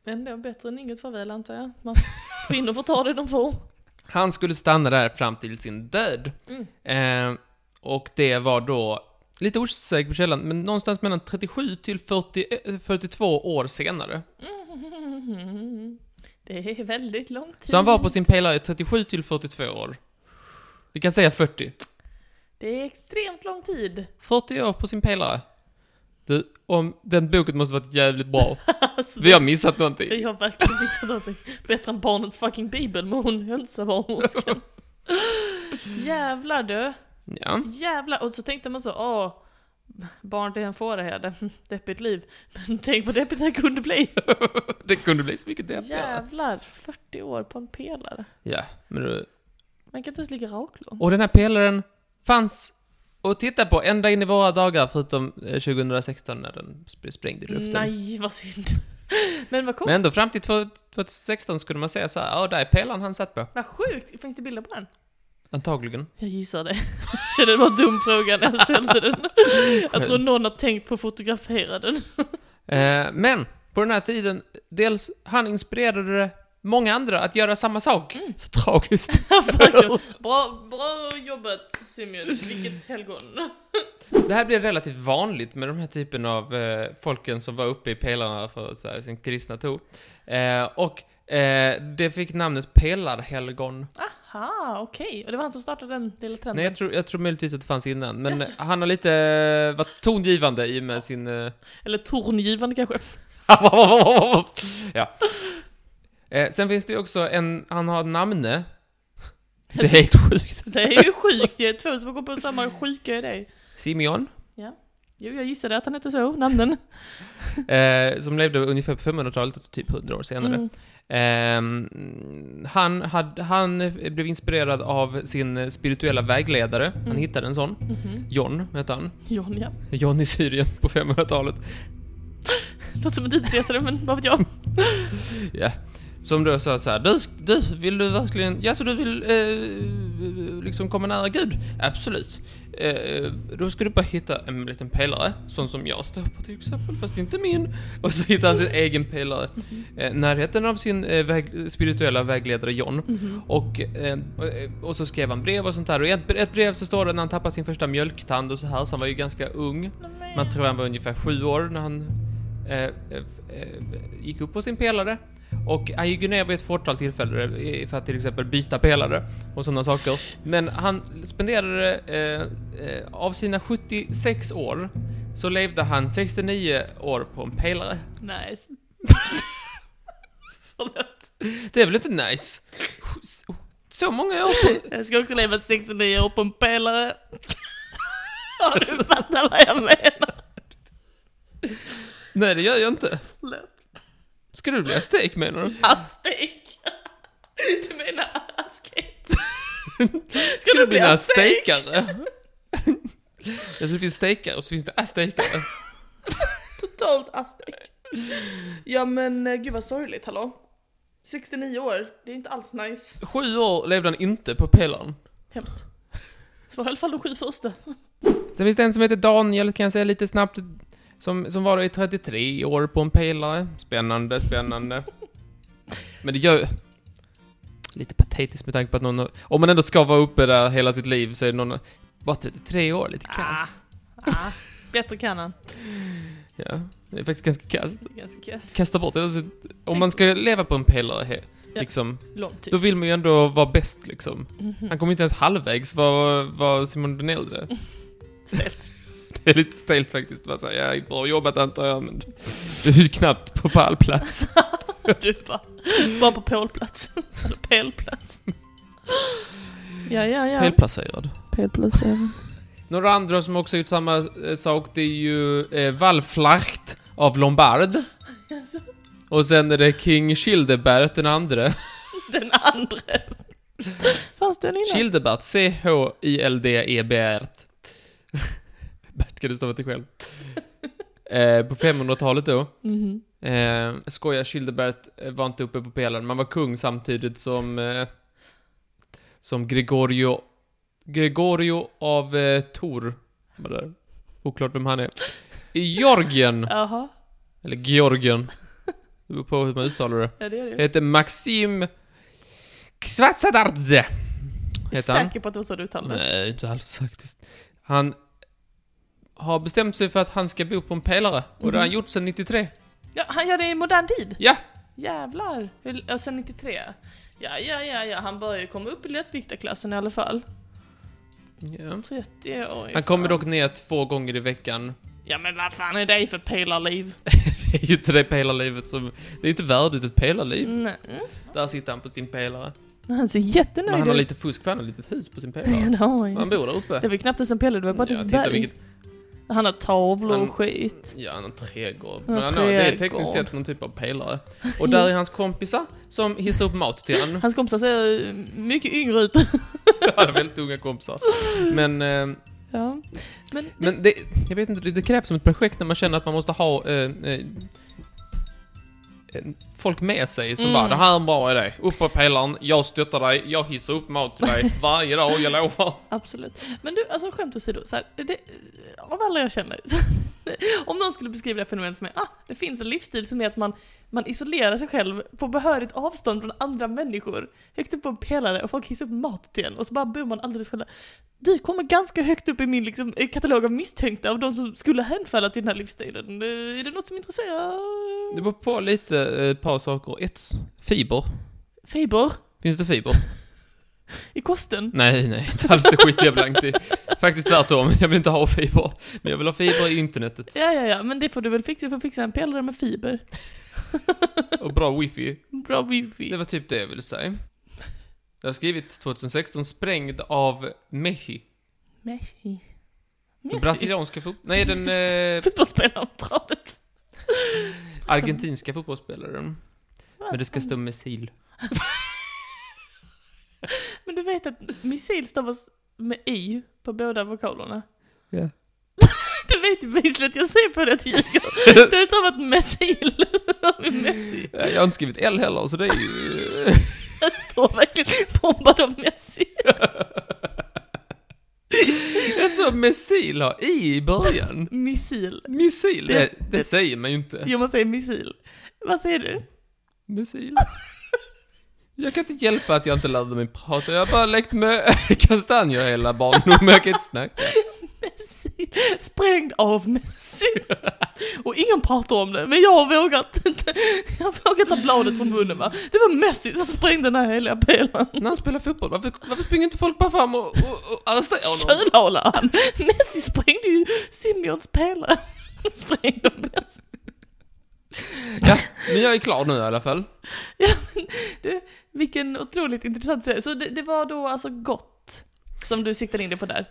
S3: Ändå bättre än inget farväl antar jag. Man, kvinnor får ta det de får.
S1: Han skulle stanna där fram till sin död.
S3: Mm.
S1: Eh, och det var då, lite osäker på källan, men någonstans mellan 37 till 40, eh, 42 år senare.
S3: Det är väldigt lång tid.
S1: Så han var på sin pelare i 37 till 42 år. Vi kan säga 40.
S3: Det är extremt lång tid.
S1: 40 år på sin pelare. Du, om, den boken måste varit jävligt bra.
S4: Alltså,
S1: Vi har missat någonting.
S4: Vi har verkligen missat någonting. Bättre än barnets fucking bibel med hon hönsebarnmorskan.
S3: Jävlar du.
S1: Ja.
S3: Jävlar. Och så tänkte man så, åh. Barn till en fåraherde, deppigt liv. Men tänk vad deppigt det här kunde bli.
S1: Det kunde bli så mycket deppigare.
S3: Jävlar, 40 år på en pelare.
S1: Ja, men du.
S3: Man kan inte ens ligga raklång.
S1: Och den här pelaren fanns att titta på ända in i våra dagar, förutom eh, 2016 när den sp- sprängde i luften.
S3: Nej, vad synd. Men vad
S1: Men
S3: konstigt.
S1: ändå fram till 2016 skulle man säga så här, ja, där är pelaren han satt på.
S3: Vad sjukt. Finns det bilder på den?
S1: Antagligen.
S3: Jag gissar det. Kände det var en dum fråga när jag ställde den. Jag tror någon har tänkt på att fotografera den.
S1: Eh, men på den här tiden, dels han inspirerade många andra att göra samma sak. Så tragiskt.
S3: Verkligen. bra, bra jobbat Simeon, vilket helgon.
S1: Det här blev relativt vanligt med de här typen av eh, folken som var uppe i pelarna för så här, sin kristna tro. Eh, och eh, det fick namnet pelarhelgon.
S3: Aha, okej. Och det var han som startade den lilla trenden?
S1: Nej, jag tror, jag tror möjligtvis att det fanns innan, men
S3: Jaså.
S1: han har lite eh, varit tongivande i och med sin... Eh,
S3: Eller torngivande kanske?
S1: ja. Eh, sen finns det ju också en, han har ett namne. Det är helt sjukt.
S3: Det är ju sjukt, det är två som går på samma sjuka idé.
S1: Simeon,
S3: Jo, jag gissade att han hette så, namnen.
S1: eh, som levde ungefär på 500-talet, alltså typ 100 år senare.
S3: Mm.
S1: Ehm, han, hade, han blev inspirerad av sin spirituella vägledare. Han
S3: Mm.
S1: hittade en sån.
S3: Mhm.
S1: John hette han.
S3: John, ja.
S1: John i Syrien på 500-talet.
S3: Låter som en tidsresare, men vad vet jag?
S1: Ja. Som då sa så här, du, du, vill du verkligen, ja så du vill eh, liksom komma nära Gud? Absolut. Eh, då ska du bara hitta en liten pelare, sån som jag står på till exempel, fast inte min. Och så hittar han sin egen pelare. Eh, närheten av sin eh, väg, spirituella vägledare John.
S3: Mhm.
S1: Och, eh, och- och så skrev han brev och sånt där. Och i ett, ett brev så står det när han tappade sin första mjölktand och så här, så han var ju ganska ung. Man tror han var ungefär sju år när han eh, eh, eh, gick upp på sin pelare. Och han gick ju ner vid ett fåtal tillfällen eh, för att till exempel byta pelare och sådana saker. Men han spenderade, eh, eh, av sina 76 år, så levde han 69 år på en pelare.
S3: Nice. Förlåt.
S1: Det är väl inte nice? Så många år på...
S4: Jag ska också leva 69 år på en pelare. Har du fattat vad jag menar?
S1: Nej, det gör jag inte.
S4: Förlåt.
S1: Ska du bli astek menar du?
S4: Astek! Du menar asket? Ska du bli
S1: en
S4: astek?
S1: astekare? Jag tror det finns stekare och så finns det astekare.
S3: Totalt astek. Ja men eh, gud vad sorgligt, hallå? 69 år, det är inte alls nice.
S1: Sju år levde han inte på pelaren.
S3: Hemskt. Det var i alla fall de sju första.
S1: Sen finns det en som heter Daniel, kan jag säga lite snabbt, som, som var i 33 år på en pelare. Spännande, spännande. Men det gör ju- Lite patetiskt med tanke på att någon har, Om man ändå ska vara uppe där hela sitt liv så är det någon... Bara 33 år, lite kass.
S3: Ah, bättre kan han.
S1: Ja, det är faktiskt ganska kass.
S3: Det är ganska kass.
S1: Kasta bort det. Alltså, om man ska leva på en pelare, he-
S3: Ja. Typ.
S1: liksom,
S3: Lång tid.
S1: då vill man ju ändå vara bäst liksom.
S3: Mhm.
S1: Han kommer inte ens halvvägs vara var Simon den äldre.
S3: Mm. Ställt.
S1: Det är lite stelt faktiskt. Bara så här, ja, bra jobbat antar jag, men du är ju knappt på pallplats.
S3: Du bara, bara på pålplats. Eller pelplats. Ja, ja, ja.
S1: Felplacerad.
S3: Pelplats även.
S1: Några andra som också gjort samma eh, sak, det är ju eh, Wallflacht av Lombard.
S3: Alltså,
S1: Och sen är det King Childebert den andre.
S3: den andra. Fanns den innan?
S1: Childebert, E C-H-I-L-D-E-B-R-T. Bert kan du stava till själv. Eh, på 500-talet då.
S3: Mhm.
S1: Eh, skoja, Childebert eh, var inte uppe på pelaren. Man var kung samtidigt som... Eh, som Gregorio... Gregorio av eh, Tor. Var där. Oklart vem han är. I Georgien.
S3: Jaha.
S1: Eller Georgien. Det beror på hur man uttalar det.
S3: Ja, det är det ju.
S1: Heter Maxim... Kvatsadardze.
S3: Jag är
S1: Heter han.
S3: säker på att det var så det uttalades.
S1: Nej, inte alls faktiskt. Han har bestämt sig för att han ska bo på en pelare. Och det har han
S3: Mhm.
S1: gjort sedan 93.
S3: Ja, han gör det i modern tid?
S1: Ja.
S3: Jävlar! Hur, och sen 93? Ja, ja, ja, ja, han börjar ju komma upp i lättviktarklassen i alla fall.
S1: Ja.
S3: 30 år.
S1: Han kommer dock ner två gånger i veckan
S4: Ja men vad fan är det för pelarliv?
S1: det är ju inte det pelarlivet som... Det är inte värdigt ett pelarliv.
S4: Nej.
S3: Mm.
S1: Där sitter han på sin pelare.
S3: Han ser
S1: Men
S3: jättenöjd
S1: han har
S3: ut.
S1: lite fusk för han har ett litet hus på sin
S3: Ja,
S1: pelare.
S3: det har han
S1: Han
S3: ju.
S1: bor där uppe.
S3: Det var ju knappt ens en pelle, det var bara ett
S1: Ja,
S3: litet
S1: titta
S3: berg.
S1: vilket...
S3: Han har tavlor
S1: Han-
S3: och skit.
S1: Ja, han har en trädgård. Men
S3: Han har
S1: han har, det är
S3: trädgård.
S1: tekniskt sett någon typ av pelare. Och där är hans kompisar som hissar upp mat till honom.
S3: Hans kompisar ser eh, mycket yngre ut.
S1: Han har väldigt unga kompisar. Men, eh,
S3: Ja. Men,
S1: men det, jag vet inte, det- det krävs som ett projekt när man känner att man måste ha eh, eh, en- folk med sig som
S4: Mm.
S1: bara, det här är en bra idé. Upp på pelaren, jag stöttar dig, jag hissar upp mat till dig varje dag, jag lovar.
S3: absolut. Men du, alltså skämt åsido, så här, det, av alla jag känner, om någon skulle beskriva det här fenomenet för mig, ah, det finns en livsstil som är att man, man isolerar sig själv på behörigt avstånd från andra människor. Högt upp på en pelare och folk hissar upp mat till en och så bara bor man alldeles själva. Du kommer ganska högt upp i min liksom, eh, katalog av misstänkta av de som skulle hänfalla till den här livsstilen. Eh, Är det något som intresserar?
S1: Det beror på lite, eh, ett par saker. Ett, fiber.
S3: Fiber
S1: Finns det fiber?
S3: i kosten?
S1: Nej, nej, inte alls. Det skiter jag blankt i. Faktiskt tvärtom. Jag vill inte ha fiber. Men jag vill ha fiber i internetet.
S3: Ja, ja, ja, men det får du väl fixa. Du får fixa en pelare med fiber.
S1: Och bra wifi.
S3: Bra wifi.
S1: Det var typ det jag ville säga. Jag har skrivit 2016 sprängd av Messi.
S3: Messi.
S1: Den
S3: Messi.
S1: brasilianska fot... Nej, den eh,
S4: Fotbollsspelaren på travet.
S1: argentinska fotbollsspelaren.
S3: Alltså,
S1: Men det ska stå Messil.
S3: Men du vet att missil stavas med i på båda vokalerna.
S1: Ja.
S3: Du vet ju bevisligen att jag säger på det att jag ljuger. Det har stavat messil. Messi.
S1: Jag har inte skrivit L heller, så det är ju...
S3: Jag står verkligen bombad av Messi.
S1: Jag såg Messil ha i i början.
S3: Missil.
S1: Missil,
S3: Det-
S1: det, det
S3: det-
S1: säger man ju inte.
S3: Jo, man säger missil. Vad säger du?
S1: Missil. Jag kan inte hjälpa att jag inte lärde mig prata. Jag har bara lekt med kastanjer hela barndomen. Jag kan inte snacka.
S3: Messi. Sprängd av Messi. Och ingen pratar om det, men jag har vågat inte. Jag har vågat ta bladet från munnen va. Det var Messi som sprängde den här heliga pelaren.
S1: När han spelar fotboll, varför, varför springer inte folk bara fram och, och, och arresterar honom?
S3: Kölhala han. Messi sprängde ju Simeons pelare. Sprängde Messi.
S1: Ja, men jag är klar nu i alla fall.
S3: Du, vilken otroligt intressant serie. Så det, det var då alltså gott som du siktade in dig på där?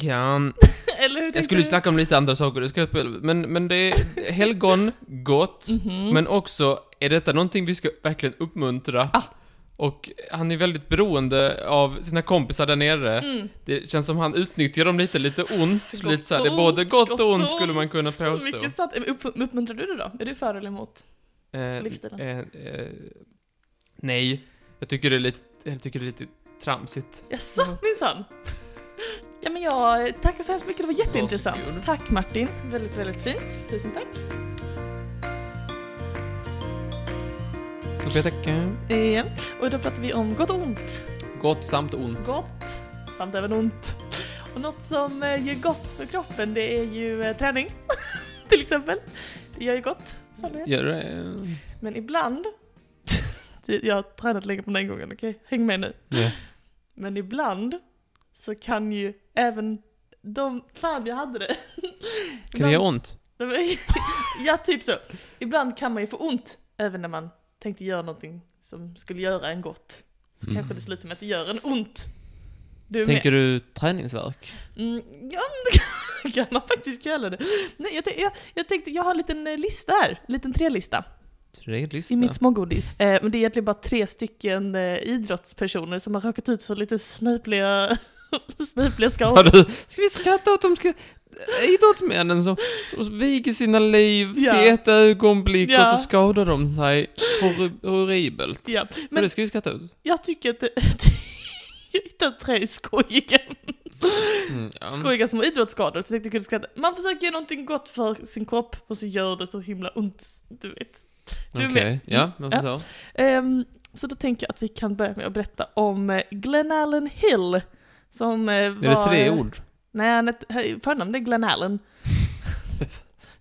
S1: Ja,
S3: Eller hur tänkte
S1: jag skulle
S3: du?
S1: snacka om lite andra saker, det ska jag spela. Men, men det är helgon, gott,
S3: Mhm.
S1: men också, är detta någonting vi ska verkligen uppmuntra?
S3: Ah.
S1: Och han är väldigt beroende av sina kompisar där nere.
S3: Mm.
S1: Det känns som han utnyttjar dem lite, lite ont. lite så här, det är både gott och ont skulle man kunna
S3: Så
S1: påstå.
S3: mycket sant. Upp, uppmuntrar du det då? Är du för eller emot?
S1: Eh,
S3: livsstilen.
S1: eh, eh, nej, jag tycker det är lite, jag tycker det är lite tramsigt.
S3: Jaså, minsann? Ja men jag tackar så hemskt mycket, det var jätteintressant.
S1: Varsågod.
S3: Tack Martin, väldigt väldigt fint. Tusen tack.
S1: Då får jag tacka.
S3: Eh, och idag pratar vi om gott och ont.
S1: Gott samt ont.
S3: gott samt även ont. Och något som eh, gör gott för kroppen det är ju eh, träning till exempel. Det gör ju gott, sannolikt.
S1: Gör det? eh,
S3: Men ibland, jag har tränat länge på den här gången, okej? Häng med nu.
S1: Ja.
S3: Men ibland så kan ju även de, fan jag hade det.
S1: Kan det
S3: Ibland-
S1: göra ont?
S3: de- ja, typ så. Ibland kan man ju få ont även när man tänkte göra någonting som skulle göra en gott. Så
S1: Mm.
S3: kanske det slutar med att det gör en ont. Du är med.
S1: Tänker du träningsverk?
S3: Mm, ja, men det kan man faktiskt kalla det. Nej, jag, tän- jag, jag tänkte, jag har en liten eh, lista här, en liten trelista
S1: Tre
S3: i mitt smågodis. Eh, men det är egentligen bara tre stycken eh, idrottspersoner som har råkat ut för lite snöpliga, snöpliga skador.
S1: du, ska vi skratta åt de ska... eh, Idrottsmännen som, som viker sina liv
S3: Ja.
S1: till ett ögonblick
S3: Ja.
S1: och så skadar de sig hor- horribelt.
S3: Ja,
S1: Men...
S3: men
S1: Det ska vi skratta åt.
S3: jag tycker att jag hittar tre skojiga,
S1: Mm, ja.
S3: skojiga små idrottsskador så jag tänkte jag kunde skratta. Man försöker göra någonting gott för sin kropp och så gör det så himla ont, du vet. Du
S1: Okej,
S3: är med. Mm.
S1: ja. vad
S3: Ja.
S1: sa?
S3: Ehm, så då tänker jag att vi kan börja med att berätta om eh, Glen Allen Hill. Som eh, var...
S1: Är det tre ord?
S3: Nej, han het- he- förnamnet är Glen Allen.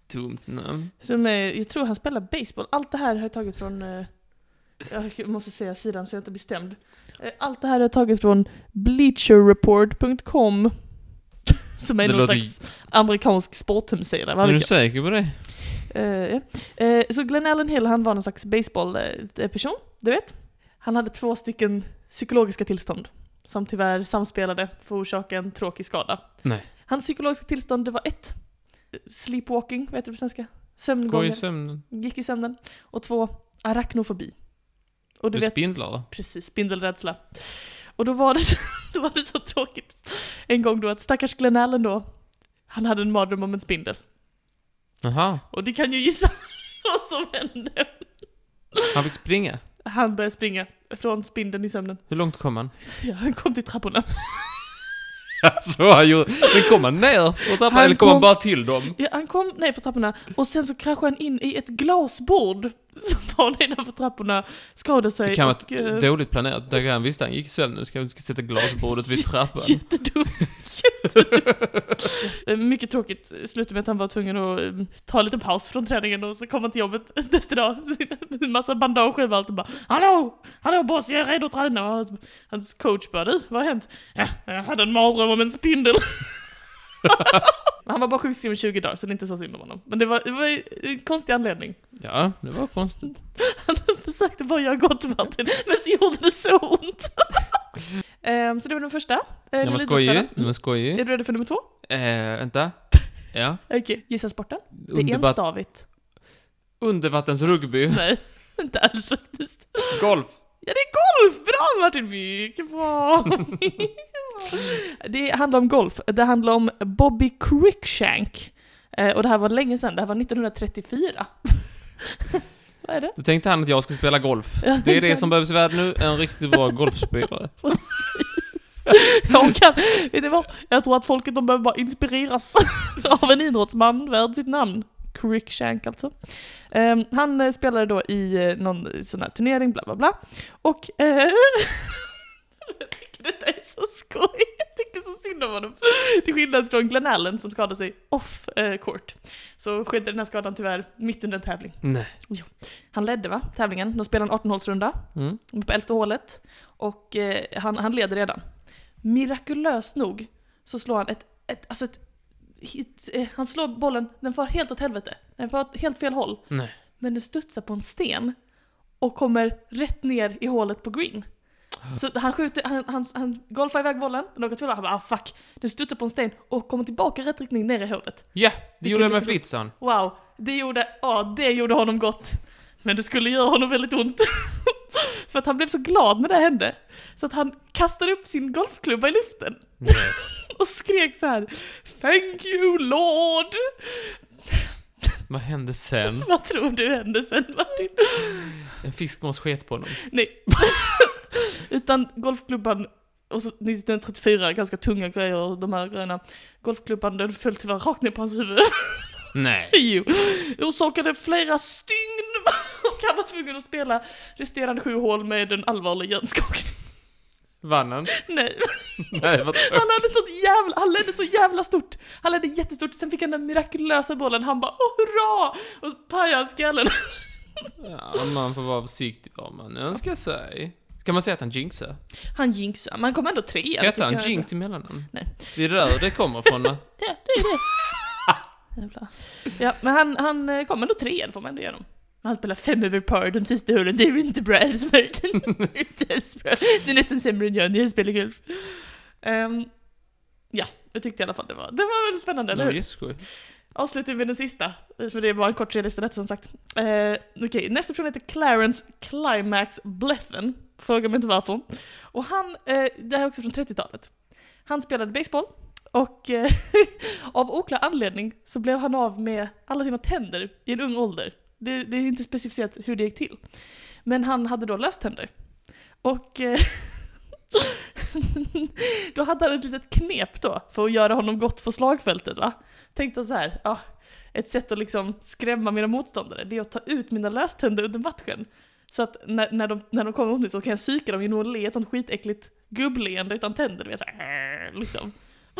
S1: Tomt namn.
S3: Som, eh, jag tror han spelar baseball. Allt det här har jag tagit från... Eh, jag måste säga sidan så jag inte blir stämd. Eh, allt det här har jag tagit från bleacherreport.com. Som är
S1: Det
S3: någon
S1: låter-
S3: slags amerikansk sporthemsida.
S1: Är
S3: Vad
S1: du
S3: vet
S1: säker på det?
S3: Eh, ja. Eh, så Glenn Allen Hill, han var någon slags baseballperson, du vet. Han hade två stycken psykologiska tillstånd som tyvärr samspelade för att orsaka en tråkig skada.
S1: Nej.
S3: Hans psykologiska tillstånd, det var ett, sleepwalking, vad heter det på svenska?
S1: Gå i
S3: Sömngången,
S1: sömnen.
S3: gick i sömnen. Och två, arachnofobi. Och
S1: Du spindlar va?
S3: Precis, spindelrädsla. Och då var, det så, då var det så tråkigt en gång då att stackars Glenn Allen då, han hade en mardröm om en spindel.
S1: Jaha,
S3: Och du kan ju gissa vad som hände.
S1: han fick springa.
S3: Han började springa från spindeln i sömnen.
S1: Hur långt kom han?
S3: Ja, han kom till trapporna.
S1: Alltså, han gjorde... Men kom han ner på trappan
S3: Han
S1: eller kom
S3: kom-
S1: han bara till dem?
S3: Ja, han kom ner för trapporna och sen så kraschade han in i ett glasbord som var nedanför trapporna, skadade sig
S1: Det kan vara
S3: och... eh,
S1: ett dåligt planerat diagram. Visst, han gick i sömnen. Ska vi ska sätta glasbordet vid trappan?
S3: Jättedumt. Jättedumt. Eh, Mycket tråkigt. Slutade med att han var tvungen att eh, ta en liten paus från träningen och så kom han till jobbet nästa dag. En massa bandage överallt och bara Hallå! Hallå boss, jag är redo att träna. Och hans- Hans coach bara du, vad har hänt? Ja, jag hade en mardröm om en spindel. han var bara sjukskriven 20 dagar så det är inte så synd om honom. Men det var, det var en konstig anledning.
S1: Ja, det var konstigt.
S3: Han försökte bara göra gott Martin, men så gjorde det så ont. Ehm, så det var den första. Eh,
S1: Den
S3: lilla
S1: var skojig.
S3: spännande. Mm.
S1: Den var
S3: Är
S1: skojig.
S3: du redo för nummer två?
S1: Eh, vänta. Ja.
S3: Okej. Gissa sporten? Det är
S1: Undervatt-
S3: enstavigt.
S1: Undervattensrugby.
S3: Nej, inte alls faktiskt.
S1: Golf.
S3: Ja, det är golf! Bra Martin! Mycket bra! det handlar om golf. Det handlar om Bobby Cruikshank. Eh, Och det här var länge sedan, det här var 1934. Vad är det?
S1: Då tänkte han att jag ska spela golf.
S3: Ja,
S1: Det är
S3: tänkte
S1: det
S3: han.
S1: som behövs i världen nu. En riktigt bra golfspelare.
S3: Jag kan, vet du vad? Jag tror att folket de behöver bara inspireras av en idrottsman värd sitt namn. Crickshank alltså. Ehm, han eh, spelade då i eh, någon sån här turnering, bla bla bla. Och... eh, jag tycker detta är så skoj. Jag tycker så synd om honom. Till skillnad från Glenn Allen som skadade sig off eh, court. Så skedde den här skadan tyvärr mitt under en tävling.
S1: Nej.
S3: Han ledde va, tävlingen. De spelade en 18-hålsrunda.
S1: Mm.
S3: De är på elfte hålet. Och eh, han, han leder redan. Mirakulöst nog så slår han ett... ett, alltså ett hit, eh, han slår bollen, den far helt åt helvete. Den far åt helt fel håll.
S1: Nej.
S3: Men den studsar på en sten och kommer rätt ner i hålet på green. Så han skjuter, han, han, han golfar iväg bollen, den åker till hålet, han bara ah, fuck. Den studsar på en sten och kommer tillbaka i rätt riktning ner i hålet.
S1: Ja, det
S3: Vilken
S1: gjorde jag med
S3: lyckas-
S1: flitsan.
S3: Wow, det gjorde, ja, det gjorde honom gott. Men det skulle göra honom väldigt ont. För att han blev så glad när det hände. Så att han kastade upp sin golfklubba i luften
S1: Nej.
S3: och skrek så här Thank you Lord!
S1: Vad hände sen?
S3: Vad tror du hände sen Martin?
S1: En fiskmås sket på honom.
S3: Nej. Utan golfklubban, och så 1934, ganska tunga grejer, de här grejerna. Golfklubban den föll tyvärr rakt ner på hans huvud.
S1: Nej.
S3: Jo. Orsakade flera stygn och han var tvungen att spela resterande sju hål med en allvarlig hjärnskakning.
S1: Vann han?
S3: Nej,
S1: Nej, vad
S3: han hade sånt jävla, han ledde så jävla stort. Han ledde jättestort, sen fick han den mirakulösa bollen, han bara åh hurra! Och pajade hans skallen.
S1: ja, Man får vara försiktig vad man önskar sig. Kan man säga att han jinxar?
S3: Han jinxade, man kom ändå trea. det
S1: Hette
S3: tycker
S1: han
S3: jag är
S1: jinx
S3: bra.
S1: i mellannamn?
S3: Nej.
S1: Det är där det kommer från. va?
S3: Ja, det är det. Jävla. Ja, men han, han eh, kom ändå trea, det får man ändå göra. Han spelar fem över par de sista hålen, det är ju inte bra alls, Martin. Det är inte alls bra. Det är nästan sämre än jag när jag spelar golf. Ehm, ja, jag tyckte i alla fall det var, det var väldigt spännande, eller
S1: Nej,
S3: hur?
S1: jätteskoj.
S3: Avslutar vi med den sista, för det var en kort resa detta som sagt. Eh, Okej, nästa person heter Clarence Climax Bleffen. Fråga mig inte varför. Och han, eh, det här är också från 30-talet. Han spelade baseball och eh, av oklar anledning så blev han av med alla sina tänder i en ung ålder. Det, det är inte specificerat hur det gick till. Men han hade då löständer. Och eh, då hade han ett litet knep då för att göra honom gott på slagfältet va tänkte så här, ah, ett sätt att liksom skrämma mina motståndare, det är att ta ut mina löständer under matchen. Så att när, när, de, när de kommer mot mig så kan jag psyka dem genom att le ett sånt skitäckligt gubbleende utan tänder. Du vet, så här, "Äh", liksom.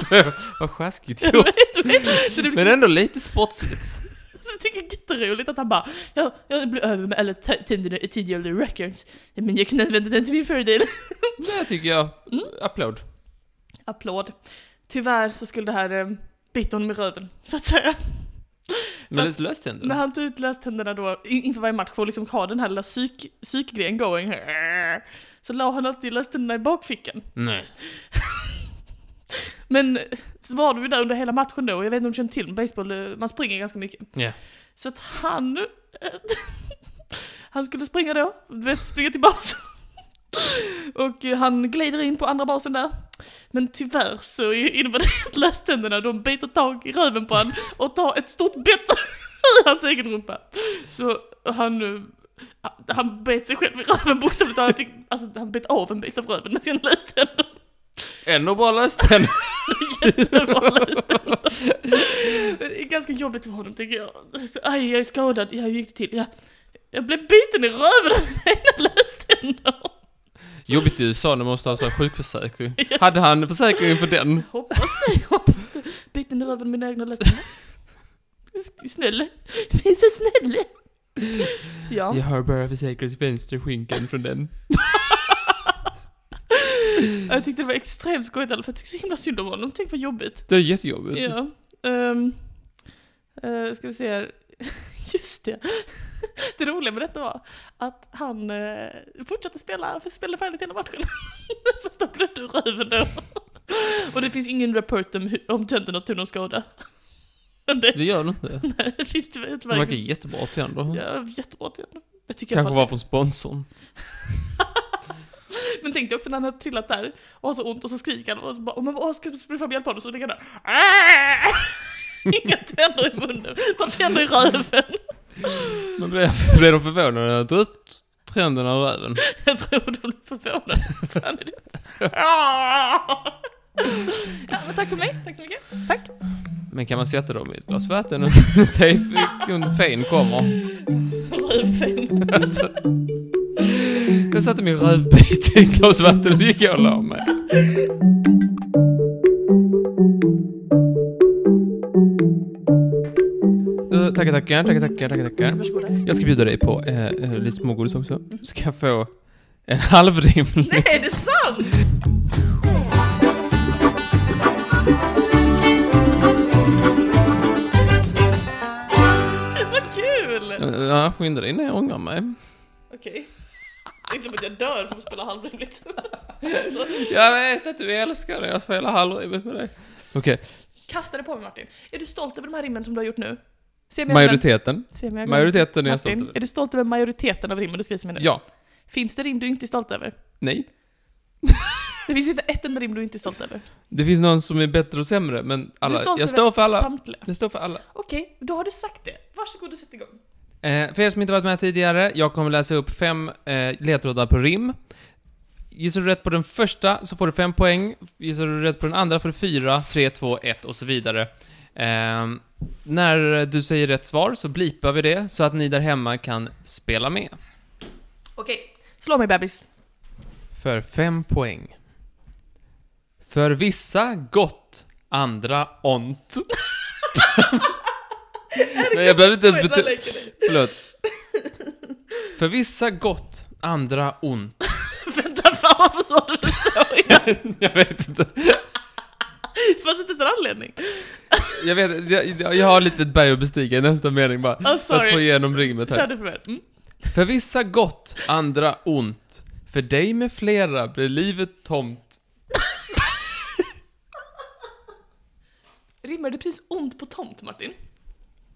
S1: Vad sjaskigt
S3: Jag
S1: gjort.
S3: vet, du vet. Så det blir
S1: Men
S3: så,
S1: ändå lite sportsligt.
S3: så jag tycker det är jätteroligt att han bara, jag, jag blev över med alla tä- tänderna i tidigare records, men jag kan använda den till min fördel.
S1: Det tycker jag. Applåd.
S3: Applåd. Tyvärr så skulle det här eh, bita honom i röven, så att säga.
S1: Men det löste ändå.
S3: När han tog ut löständerna då in- inför varje match för att liksom ha den här lilla psyk, psykgrejen going. Så la han alltid löständerna i bakfickan.
S1: Nej.
S3: Men så var de ju där under hela matchen då, och jag vet inte om du känner till men baseball, eh, man springer ganska mycket.
S1: Ja.
S3: Så att han... han skulle springa då, du vet, springa till basen. Och eh, han glider in på andra basen där. Men tyvärr så innebär det att löständerna de biter tag i röven på han och tar ett stort bett ur hans egen rumpa. Så han... eh, Han bet sig själv i röven bokstavligt talat. Han fick- Alltså han bet av en bit av röven med sina löständer.
S1: Ändå bra löst den.
S3: Jättebra löständer. Det är ganska jobbigt för honom tycker jag. Så, aj, jag är skadad. Ja, hur gick det till? Ja, jag blev biten i röven av mina egna löständer.
S1: Jobbigt i USA när man måste ha så här sjukförsäkring. Hade han försäkring för den?
S3: Hoppas det, hoppas det. Biten i röven av mina egna löständer. Snälla. Jag är så snäll. Ja.
S1: Jag har bara försäkrat vänsterskinkan från den.
S3: Jag tyckte det var extremt skojigt i alla fall. Jag tyckte så himla synd om honom. Tänk vad jobbigt.
S1: Det är jättejobbigt.
S3: Ja. Um, ska vi se här. Just det. Det roliga med detta var att han eh, fortsatte spela, för spelade färdigt hela matchen. Fast han blödde ur röven då. Och det finns ingen rapport om, hu- om tönten har tog någon skada. Det,
S1: Det gör det inte.
S3: det finns tyvärr
S1: Han verkar
S3: tyvärr ingen.
S1: jättebra till ändå.
S3: Ja, jättebra till honom. Jag tycker
S1: Kanske
S3: i alla
S1: var
S3: fall-
S1: från sponsorn.
S3: Men tänk dig också när han har trillat där och har så ont och så skriker han och så bara, om man bara ska springa fram och hjälpa honom så ligger han där. "Ah!" Inga tänder i munnen, bara tänder i röven.
S1: Men blev, blev de förvånade att du trenden av röven?
S3: Jag tror de blir förvånade. Fan är det? Ja, men tack för mig. Tack så mycket. Tack.
S1: Men kan man sätta dem i ett glas vatten och tejfein kommer?
S3: Rövfen.
S1: Jag satte min rövbit i ett glas vatten och så gick jag och la mig. Eh, Tackar, tackar, tackar, tackar, tackar, tackar.
S3: Varsågoda.
S1: Jag ska bjuda dig på eh, eh, lite smågodis också. Ska få en halvrimlig...
S3: Nej, är det sant? Vad kul!
S1: Eh, Ja, skynda dig innan jag ångrar mig.
S3: Okej. Tänkte som att jag dör för att spela halvrimligt. Alltså,
S1: Jag vet att du älskar det, jag spelar halvrimligt med dig. Okej,
S3: Kasta det på mig Martin. Är du stolt över de här rimmen som du har gjort nu? Se mig i ögonen.
S1: majoriteten.
S3: Se mig i ögonen.
S1: Majoriteten är jag stolt
S3: Martin, är
S1: över.
S3: du stolt över majoriteten av rimmen du ska visa mig nu?
S1: Ja.
S3: Finns det rim du inte är stolt över?
S1: Nej.
S3: Det finns inte ett enda rim du inte är stolt över.
S1: Det finns någon som är bättre och sämre, men
S3: du
S1: alla.
S3: är stolt
S1: Jag står för alla.
S3: samtliga.
S1: Jag står för alla.
S3: Okej, då har du sagt det. Varsågod och sätt igång.
S1: Eh, för er som inte varit med tidigare, jag kommer läsa upp fem eh, ledtrådar på rim. Gissar du rätt på den första så får du fem poäng. Gissar du rätt på den andra får du fyra, tre, två, ett och så vidare. Ehm, när du säger rätt svar så blipar vi det så att ni där hemma kan spela med.
S3: Okej, slå mig bebis.
S1: För fem poäng. För vissa gott, andra ont. Nej, jag behöver inte ens betona... Förlåt. För vissa gott, andra ont.
S3: Vänta, fan varför sa du det så?
S1: jag vet inte.
S3: Det fanns inte ens en anledning.
S1: Jag, vet, jag, jag- jag har lite ett berg att bestiga i nästa mening bara.
S3: Oh,
S1: För att få
S3: sorry.
S1: igenom rimmet
S3: Kör
S1: här.
S3: du för mig. Mm.
S1: För vissa gott, andra ont. För dig med flera blir livet tomt.
S3: Rimmar det precis ont på tomt, Martin?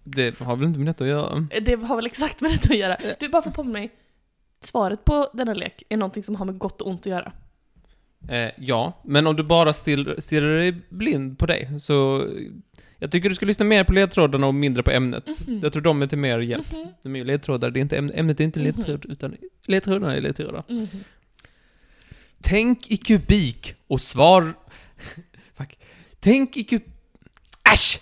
S1: Det har väl inte med detta att göra?
S3: Eh, Det har väl exakt med detta att göra. Du, bara för på mig. Svaret på denna lek är någonting som har med gott och ont att göra.
S1: Eh, ja, men om du bara stirr- stirrar dig blind på dig, så... eh, Jag tycker du ska lyssna mer på ledtrådarna och mindre på ämnet.
S3: Mhm.
S1: Jag tror de är till mer hjälp.
S3: Mhm.
S1: De är ju ledtrådar, det är inte ämnet, ämnet är inte ledtråd, utan ledtrådarna är ledtrådar.
S3: Mhm.
S1: Tänk i kubik och svar... Fuck. Tänk i kub... Äsch!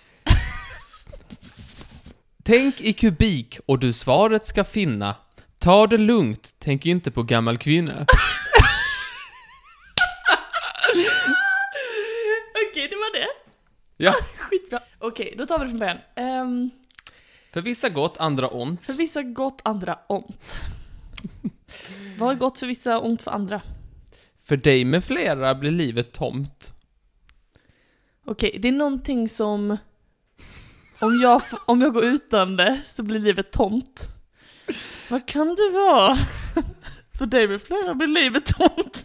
S1: Tänk i kubik och du svaret ska finna. Ta det lugnt, tänk inte på gammal kvinna.
S3: Okej, det var det. Ah,
S1: Ja.
S3: Skitbra. Okej, då tar vi det från början. Ehm,
S1: För vissa gott, andra ont.
S3: För vissa gott, andra ont. Vad är gott för vissa, ont för andra?
S1: För dig med flera blir livet tomt.
S3: Okej, det är någonting som... Om jag, f- om jag går utan det så blir livet tomt. Vad kan det vara? För dig med flera blir livet tomt.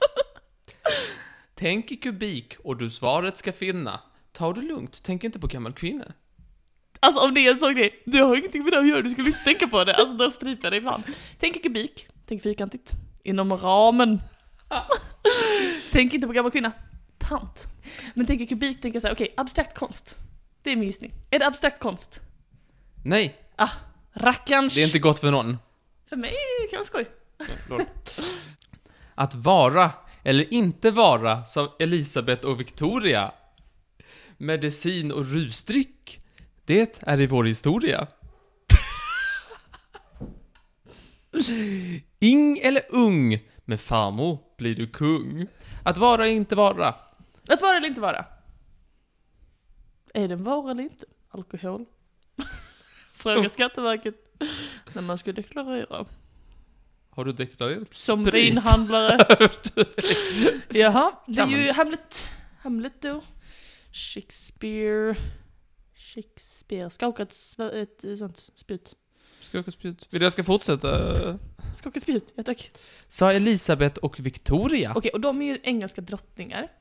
S1: Tänk i kubik och du svaret ska finna. Ta det lugnt, tänk inte på gammal kvinna.
S3: Alltså om det är en sån grej, det har ingenting med det att göra, du skulle inte tänka på det. Alltså då stryper jag dig fan. Tänk i kubik, tänk fyrkantigt. Inom ramen. tänk inte på gammal kvinna. Tant. Men tänk i kubik, tänk jag såhär, okej, abstrakt konst. Det är min gissning. Är det abstrakt konst?
S1: Nej,
S3: Rackarns.
S1: det är inte gott för någon.
S3: För mig kan vara skoj.
S1: Att vara eller inte vara, sa Elisabeth och Victoria. Medicin och rusdryck, det är i vår historia. Ing eller ung, med farmor blir du kung. Att vara eller inte vara,
S3: Att vara eller inte vara? Är den vara eller inte? Alkohol?
S1: Oh.
S3: Fråga Skatteverket när man ska deklarera.
S1: har du deklarerat?
S3: Som
S1: Sprit.
S3: vinhandlare. Jaha, det är
S1: Kan
S3: ju Hamlet. Hamlet då. Shakespeare. Shakespeare. Skaka ett, svä- ett, ett sånt spjut.
S1: Ska jag åka spjut? Vill du jag ska fortsätta?
S3: Skaka spjut, ja tack.
S1: Sa Elisabeth och Victoria.
S3: Okej, och de är ju engelska drottningar.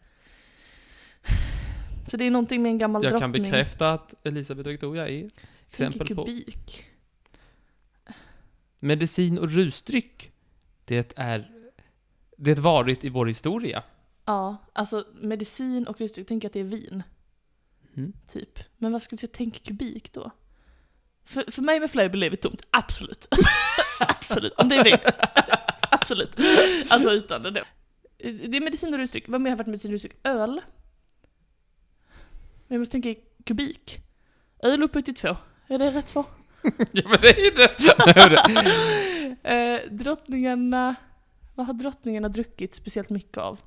S3: Så det är någonting med en gammal
S1: jag kan
S3: drottning.
S1: bekräfta att Elisabeth och Victoria är exempel på
S3: kubik.
S1: medicin och rusdryck. Det är det varit i vår historia.
S3: Ja, alltså medicin och rusdryck, tänk att det är vin,
S1: Mm.
S3: typ. Men varför skulle jag tänka kubik då? För, för mig med flöjel blir livet tomt, absolut. absolut, om det är vin. absolut. Alltså utan det då. Det är medicin och rusdryck, vad mer har varit medicin och rusdryck? Öl? Men jag måste tänka i kubik. Öl upphöjt till två, är det rätt svar?
S1: ja men det är det! Det är det.
S3: Eh, drottningarna, vad har drottningarna druckit speciellt mycket av?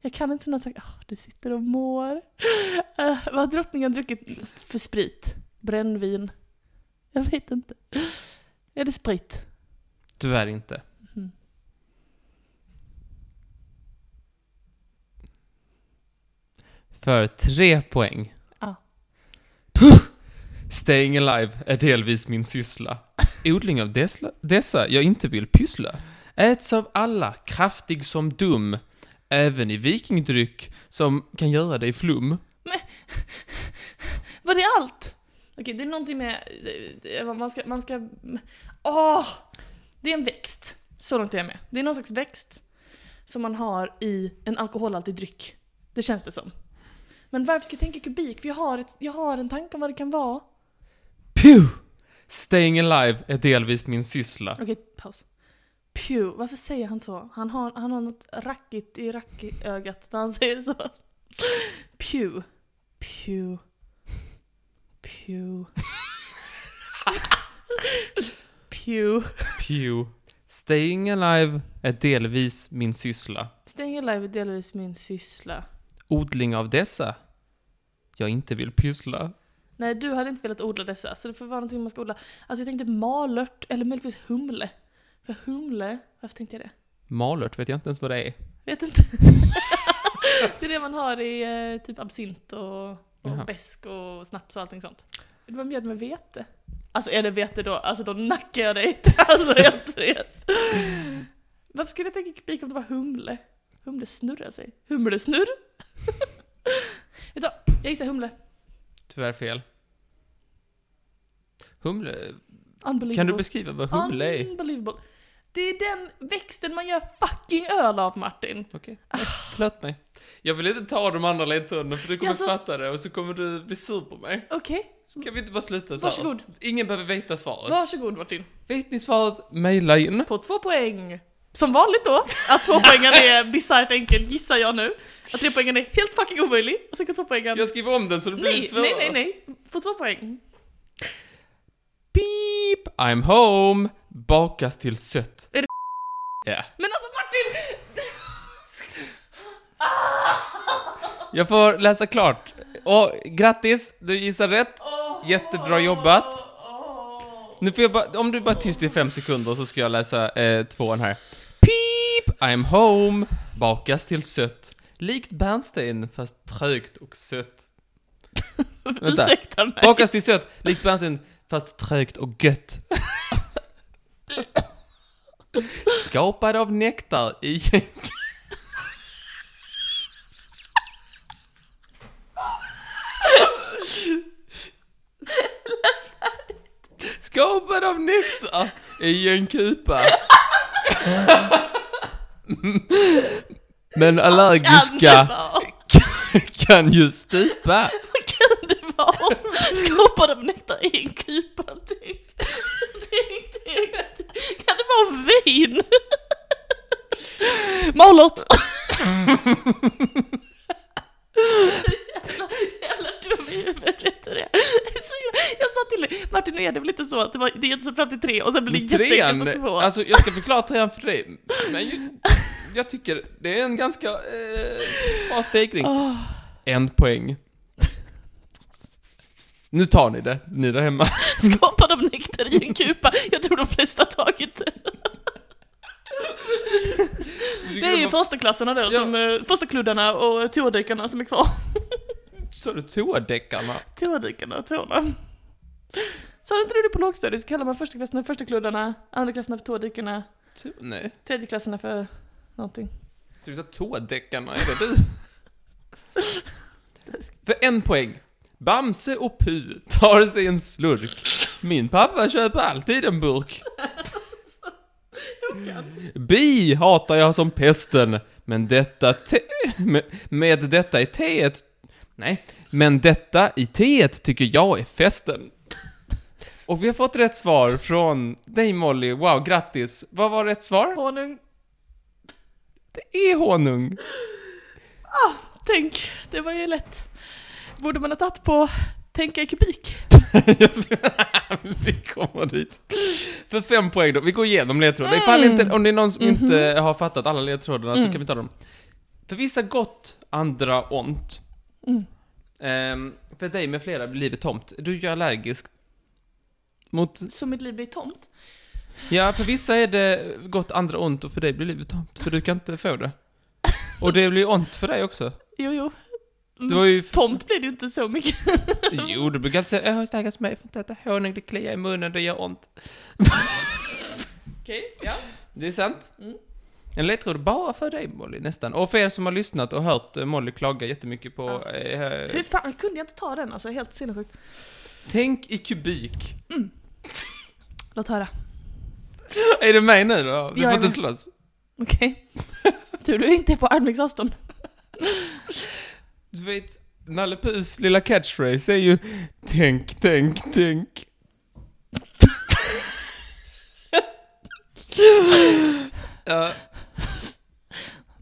S3: Jag kan inte sådana saker. Ah, du sitter och mår. Eh, vad har drottningarna druckit för sprit? Brännvin? Jag vet inte. Är det sprit?
S1: Tyvärr inte.
S3: Mhm.
S1: För tre poäng.
S3: Ja.
S1: Puh! Staying alive är delvis min syssla. Odling av dessa, dessa jag inte vill pyssla. Äts av alla, kraftig som dum. Även i vikingdryck som kan göra dig flum.
S3: Var det allt? Okej, det är någonting med... eh, Man ska... Man ska åh! det är en växt. Så långt är jag med. Det är någon slags växt som man har i en alkoholhaltig dryck. Det känns det som. Men varför ska jag tänka kubik? För jag har, ett, jag har en tanke om vad det kan vara.
S1: Puh! Staying alive är delvis min syssla.
S3: Okej, paus. Pew, varför säger han så? Han har, han har något rackigt i rackögat när han säger så. Pew. Pew. Pew. Pew.
S1: Pew. Staying alive är delvis min syssla.
S3: Staying Alive är delvis min syssla.
S1: Odling av dessa jag inte vill pyssla.
S3: Nej, du hade inte velat odla dessa, så det får vara någonting man ska odla. Alltså jag tänkte malört, eller möjligtvis humle. För humle, varför tänkte jag det?
S1: Malört vet jag inte ens vad det är.
S3: Vet inte. det är det man har i eh, typ absint och,
S1: Jaha.
S3: och bäsk och snaps och allting sånt. Vill man mjöd med vete? Alltså är det vete då, alltså då nackar jag dig. Alltså helt seriöst. Varför skulle jag tänka kubik om det var humle? Humle snurrar sig. Humlesnurr? Vet du vad? Jag gissar humle.
S1: Tyvärr fel. Humle?
S3: Unbelievable.
S1: Kan du beskriva vad
S3: Ah,
S1: humle är?
S3: Unbelievable. Det är den växten man gör fucking öl av Martin.
S1: Okej, nej, Ah, förlåt mig. Jag vill inte ta de andra ledtrådarna för du kommer
S3: Jaså?
S1: fatta det och så kommer du bli sur på mig.
S3: Okej,
S1: Kan vi inte bara sluta så här?
S3: varsågod.
S1: Ingen behöver veta svaret.
S3: Varsågod Martin.
S1: Vet ni svaret? Maila in.
S3: På två poäng. Som vanligt då, att tvåpoängaren är bisarrt enkel gissar jag nu. Att trepoängaren är helt fucking omöjlig. Och sen kan tvåpoängaren...
S1: Jag skriver om den så det blir
S3: Nej,
S1: svårare.
S3: nej, nej, nej. På två poäng.
S1: Beep! I'm home! Bakas till sött.
S3: Är det
S1: Ja.
S3: Men alltså Martin! Ah!
S1: Jag får läsa klart. Och grattis, du gissar rätt. Jättebra jobbat. Nu får jag bara, om du bara är tyst i fem sekunder så ska jag läsa eh, tvåan här. Peep! I'm home! Bakas till sött. Likt bärnsten fast trögt och sött.
S3: Ursäkta mig.
S1: Bakas till sött, likt bensin, fast trögt och gött. Skapad av nektar i Skapad av nektar i en kupa. Men
S3: Kan det
S1: allergiska
S3: vara?
S1: kan ju stupa.
S3: Kan det vara? Skapad av nektar i en kupa, typ. Tänk, tänk, tänk. Kan det vara vin? Malört! Jävla- jävla dum i huvudet, vet du det? Det är så jävla- Jag sa till dig, Martin, nu är det väl inte så att det, var, det är inte så fram till tre och sen blir det jätteenkelt
S1: Trean,
S3: på två?
S1: alltså jag ska förklara trean för dig. Men ju, jag tycker det är en ganska eh, bra stegring.
S3: Åh.
S1: En poäng. Nu tar ni det, ni där hemma.
S3: Skapad av nektar i en kupa. Jag tror de flesta tagit den. Det är ju förstaklassarna då,
S1: Ja.
S3: som, eh, första kluddarna och tådykarna som är kvar.
S1: Så du toadäckarna?
S3: Tådykarna och tårna. Sa du inte du det på lågstadiet så kallar man förstaklassarna för förstakluddarna, andraklassarna för tådykarna,
S1: To, nej.
S3: tredjeklassarna för någonting.
S1: Du sa toadäckarna, är det du? För en poäng. Bamse och Pu tar sig en slurk. Min pappa köper alltid en burk. Bi hatar jag som pesten, men detta te... Med, med detta i teet... Nej, men detta i teet tycker jag är festen. Och vi har fått rätt svar från dig Molly, wow, grattis. Vad var rätt svar?
S3: Honung.
S1: Det är honung.
S3: Tänk, det var ju lätt. Borde man ha tagit på tänka i kubik?
S1: vi kommer dit. För fem poäng då. Vi går igenom ledtrådarna. Ifall inte, om det är någon som inte har fattat alla ledtrådarna så kan vi ta dem. För vissa gott, andra ont.
S3: Mm.
S1: Ehm, för dig med flera blir livet tomt. Du är ju allergisk mot...
S3: Så mitt liv blir tomt.
S1: Ja, för vissa är det gott, andra ont och för dig blir livet tomt. För du kan inte få det. Och det blir ont för dig också.
S3: Jo, jo.
S1: Du har ju...
S3: Tomt blir det ju inte så mycket.
S1: Jo, du brukar alltid säga jag har stackars mig för att äta honung, det kliar i munnen, det gör ont.
S3: Okej, ja.
S1: Det är sant.
S3: Mm.
S1: En ledtråd bara för dig Molly, nästan. Och för er som har lyssnat och hört eh, Molly klaga jättemycket på...
S3: Ja.
S1: Eh,
S3: Hur fan kunde jag inte ta den alltså? Helt sinnessjukt.
S1: tänk i kubik.
S3: Låt höra.
S1: är det mig nu då? Du får
S3: Jag är
S1: inte
S3: med.
S1: slåss.
S3: Okej. Tur du inte är på armlängds avstånd.
S1: Du vet, Nalle Puhs lilla catchphrase är ju Tänk, tänk, tänk. Ja,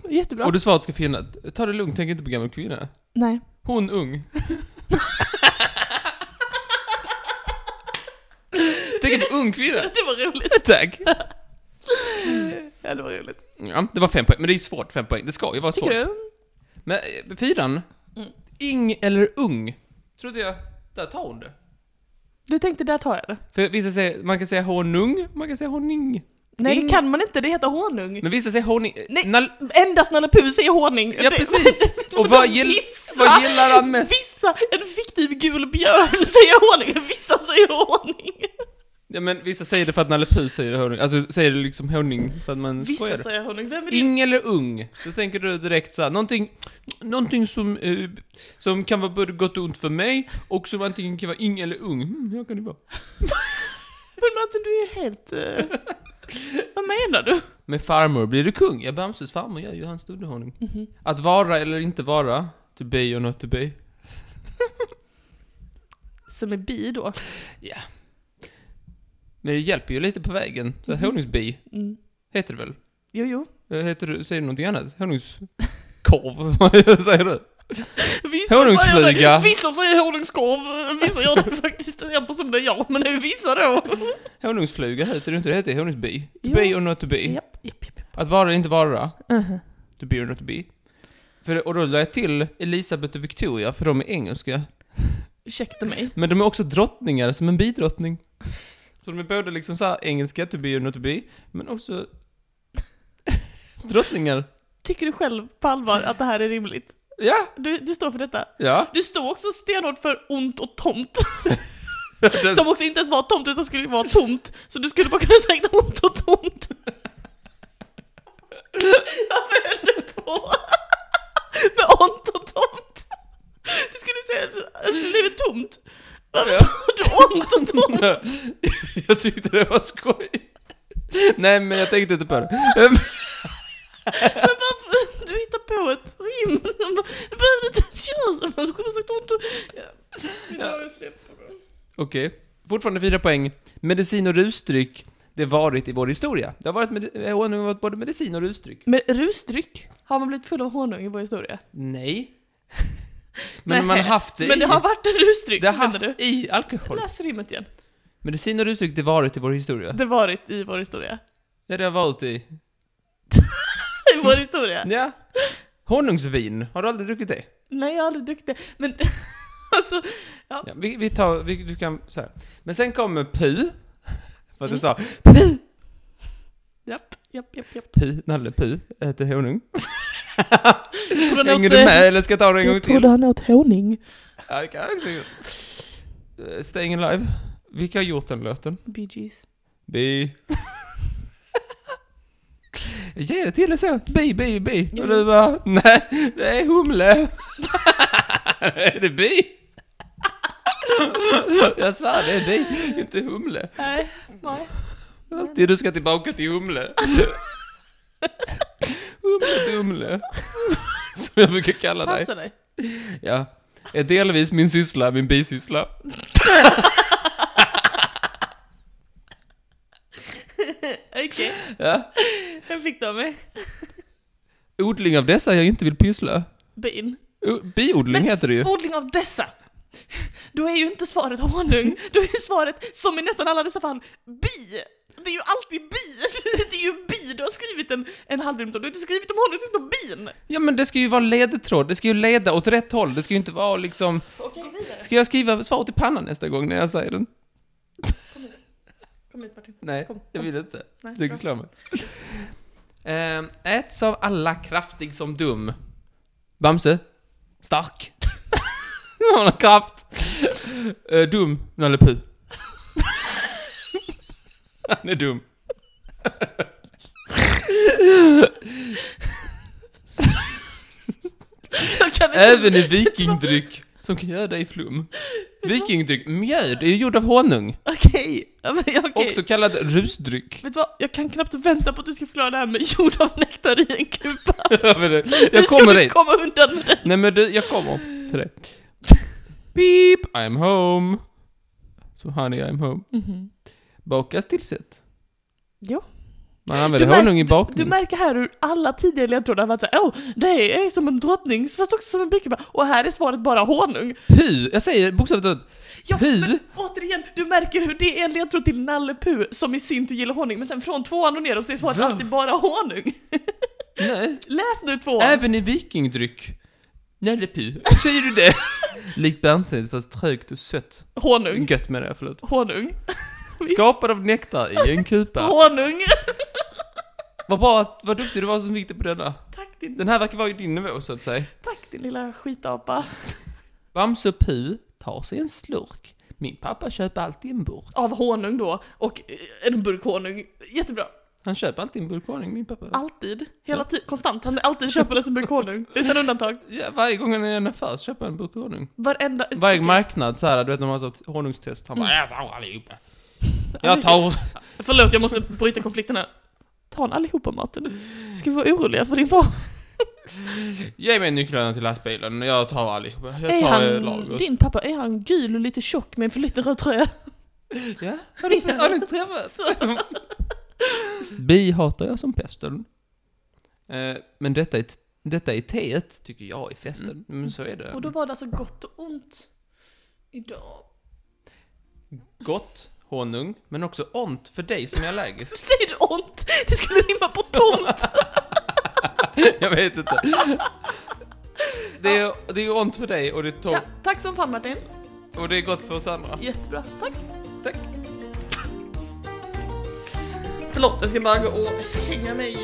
S3: Jättebra.
S1: och du svaret ska finna, ta det lugnt, tänk inte på gammal kvinna.
S3: Nej.
S1: Hon ung. Tänk på ung kvinna.
S3: Det var roligt.
S1: Tack.
S3: Ja, det var roligt.
S1: Ja, det var fem poäng, men det är ju svårt, fem poäng. Det ska ju vara
S3: Tycker
S1: svårt.
S3: du?
S1: Men eh, fyran,
S3: Mm.
S1: ing eller ung, trodde jag, där tar hon det.
S3: Du tänkte där tar jag det.
S1: För vissa säger, man kan säga honung, man kan säga honing.
S3: Nej,
S1: Ing-
S3: det kan man inte. Det heter honung.
S1: Men vissa säger honing. eh,
S3: Nej.
S1: nall-
S3: Endast Nalle Puh säger honung.
S1: ja,
S3: Det-
S1: precis. Och vad, gill,
S3: Vissa-
S1: vad gillar han mest?
S3: Vissa, en fiktiv gul björn säger honung, vissa säger honung.
S1: Ja, men vissa säger det för att Nalle Puh säger honung. Alltså säger det liksom honung för att man skojar.
S3: Vissa säger honung, vem är det?
S1: Ing eller ung, då tänker du direkt så här, någonting, någonting som, eh, som kan vara både gott och ont för mig och som antingen kan vara ing eller ung. Hmm, jag kan det vara.
S3: Men Martin, du är helt... eh, Vad menar du?
S1: Med farmor blir du kung. Ja, Bamses farmor gör ju hans underhållning. Att vara eller inte vara, to be or not to be.
S3: Som är bi då.
S1: Men det hjälper ju lite på vägen. Så
S3: Mhm.
S1: honungsbi
S3: Mm.
S1: heter det väl?
S3: Jo, jo.
S1: Eh, Heter du, säger du någonting annat? Honungskorv? Vad säger du?
S3: Vissa
S1: Honungsfluga.
S3: Säger, vissa säger honungskorv, vissa gör det faktiskt en person det är jag, men det är vissa då.
S1: Honungsfluga heter det inte, det heter honungsbi. To
S3: Ja. Uh-huh.
S1: be or not to be.
S3: Japp, japp, japp.
S1: Att vara eller inte vara, to be or not to be. För, och då la jag till Elisabeth och Victoria, för de är engelska.
S3: Ursäkta mig.
S1: Men de är också drottningar, som en bidrottning. Så de är både liksom så här engelska, to be or not to be, men också drottningar.
S3: Tycker du själv på allvar att det här är rimligt?
S1: Ja,
S3: Du, du står för detta.
S1: ja.
S3: Du står också stenhårt för ont och tomt.
S1: Den,
S3: Som också inte ens var tomt utan skulle vara tomt. Så du skulle bara kunna säga ont och tomt. Varför höll du på? Med ont och tomt? Du skulle säga att alltså, livet är tomt. Varför
S1: Ja.
S3: sa du ont och tomt?
S1: jag tyckte det var skoj. Nej, men jag tänkte inte på det. Ehm,
S3: Men varför? Du hittar på ett rim. Du behövde inte ens göra så. Du kunde ha sagt ont och... Ja. Ja.
S1: Okej. Fortfarande fyra poäng. Medicin och rusdryck, det har varit i vår historia. Det har varit, med, eh, honung har varit både medicin och rusdryck.
S3: Men rusdryck? Har man blivit full av honung i vår historia?
S1: Nej. Men man
S3: Nej.
S1: har haft det
S3: Men det
S1: i,
S3: har varit en rusdryck,
S1: det har
S3: menar
S1: haft
S3: du?
S1: i alkohol.
S3: Läs rimmet igen.
S1: Medicin och rusdryck, det har varit i vår historia.
S3: Det varit i vår historia.
S1: Ja, det har varit i...
S3: I vår historia?
S1: Ja. Honungsvin, har du aldrig druckit det?
S3: Nej, jag har aldrig druckit det. Men alltså,
S1: Ja, vi, vi tar, vi, du kan, så här. Men sen kommer pu. Fast jag sa pu,
S3: japp, japp, japp, japp.
S1: pu, Nalle pu, äter honung.
S3: Tror han
S1: Hänger
S3: åt,
S1: du
S3: eh,
S1: med eller ska jag ta det en gång
S3: Jag
S1: till?
S3: trodde han åt honung.
S1: Ja, det kan jag också ha gjort. Eh, Staying Alive. Vilka har gjort den låten?
S3: Bee Gees.
S1: Bi. Jag ger det till dig så. Bi, bi, bi.
S3: Ja.
S1: Och du bara, nej, det är humle. är det bi? jag svär, det är bi, inte humle.
S3: Nej, nej.
S1: Alltid du ska tillbaka till humle. humle, Alltså. dumle. Som jag brukar kalla dig.
S3: Passa dig.
S1: Ja. Är delvis min syssla, min bisyssla.
S3: Okej,
S1: Ja.
S3: den fick du av mig.
S1: Odling av dessa jag inte vill pyssla.
S3: Bin.
S1: O- Biodling
S3: Men-
S1: heter det ju.
S3: Odling av dessa. Då är ju inte svaret honung, då är svaret, som i nästan alla dessa fall, bi. Det är ju alltid bi. Det är ju bi du har skrivit en, en halvrim om. Du har inte skrivit om honung, du har skrivit om bin.
S1: Ja men det ska ju vara ledtråd, det ska ju leda åt rätt håll, det ska ju inte vara liksom...
S3: Okej, vidare.
S1: Ska jag skriva svaret i pannan nästa gång när jag säger den?
S3: Kom hit Martin.
S1: Nej,
S3: Kom,
S1: jag
S3: kom.
S1: vill inte.
S3: Nej,
S1: Försöker
S3: bra.
S1: slå mig. Ehm, äts av alla kraftig som dum. Bamse. Stark. Hon har kraft. Eh, dum. Nalle Puh. Han är dum.
S3: Jag kan inte-
S1: Även i vikingdryck som kan göra dig flum. Vikingdryck, mjöd, är ju gjord av honung.
S3: Okej, ja, men, ja, okej.
S1: Också kallad rusdryck.
S3: Vet du vad, jag kan knappt vänta på att du ska förklara det här med jord av nektarinkupa.
S1: Ja, men det-
S3: Hur
S1: jag
S3: ska
S1: kommer
S3: du
S1: dit.
S3: komma undan med det?
S1: Nej men du, jag kommer till dig. Beep, I'm home. Så honey, I'm home. Bakas till sött.
S3: Jo.
S1: Man använder
S3: mär-
S1: honung i
S3: Du
S1: bakning.
S3: märker här hur alla tidigare ledtrådar har varit såhär, åh, det är som en drottning fast också som en bikuba. Och här är svaret bara honung.
S1: Pu! Jag säger bokstavligt talat
S3: Ja,
S1: Hu.
S3: men återigen, du märker hur det är en ledtråd till Nalle Puh som i sin tur gillar honung, men sen från tvåan och neråt så är svaret
S1: Va?
S3: alltid bara honung.
S1: Nej.
S3: Läs nu tvåan!
S1: Även i vikingdryck. Nalle pu. Säger du det? Likt Berntsens fast trögt och sött.
S3: honung.
S1: Gött med det, förlåt.
S3: Honung. Visst.
S1: Skapad av nektar i en kupa.
S3: Honung!
S1: Vad bra att, vad duktig du var som fick det på denna.
S3: Tack din,
S1: Den här verkar vara i din nivå så att säga.
S3: tack din lilla skitapa.
S1: Bamse och Pu tar sig en slurk. Min pappa köper alltid en burk.
S3: Av honung då, och eh, en burk honung. Jättebra.
S1: Han köper alltid en burk honung, min pappa.
S3: Alltid. Hela tiden. Konstant. Han alltid köper en burk honung. Utan undantag.
S1: Ja, varje gång han är i en affär så köper han en burk honung.
S3: Varenda...
S1: Varje
S3: Okej.
S1: marknad så här, du vet när man har ett honungstest, han bara
S3: Mm.
S1: jag tar allihopa. Jag tar...
S3: Förlåt, jag måste bryta konflikten här. Ta en allihopa maten. Ska vi vara oroliga för din far?
S1: Ge mig nycklarna till lastbilen, jag tar allihopa. Jag
S3: Är
S1: tar eh,
S3: han,
S1: lagret.
S3: din pappa, är han gul och lite tjock med en för liten röd tröja?
S1: Ja, har ni, har ni träffats? Bi hatar jag som pesten. Eh, men detta är, t- detta är teet, tycker jag är festen. Men så är det.
S3: Mm. Och då var det alltså gott och ont. Idag.
S1: Gott, honung, men också ont för dig som är allergisk.
S3: Säger du ont? Det skulle rimma på tomt!
S1: jag vet inte. Det är, det är ont för dig och det är, to-
S3: Ja, tack som fan Martin.
S1: och det är gott för oss andra.
S3: Jättebra. Tack.
S1: Tack.
S3: Förlåt, jag ska bara gå och hänga mig.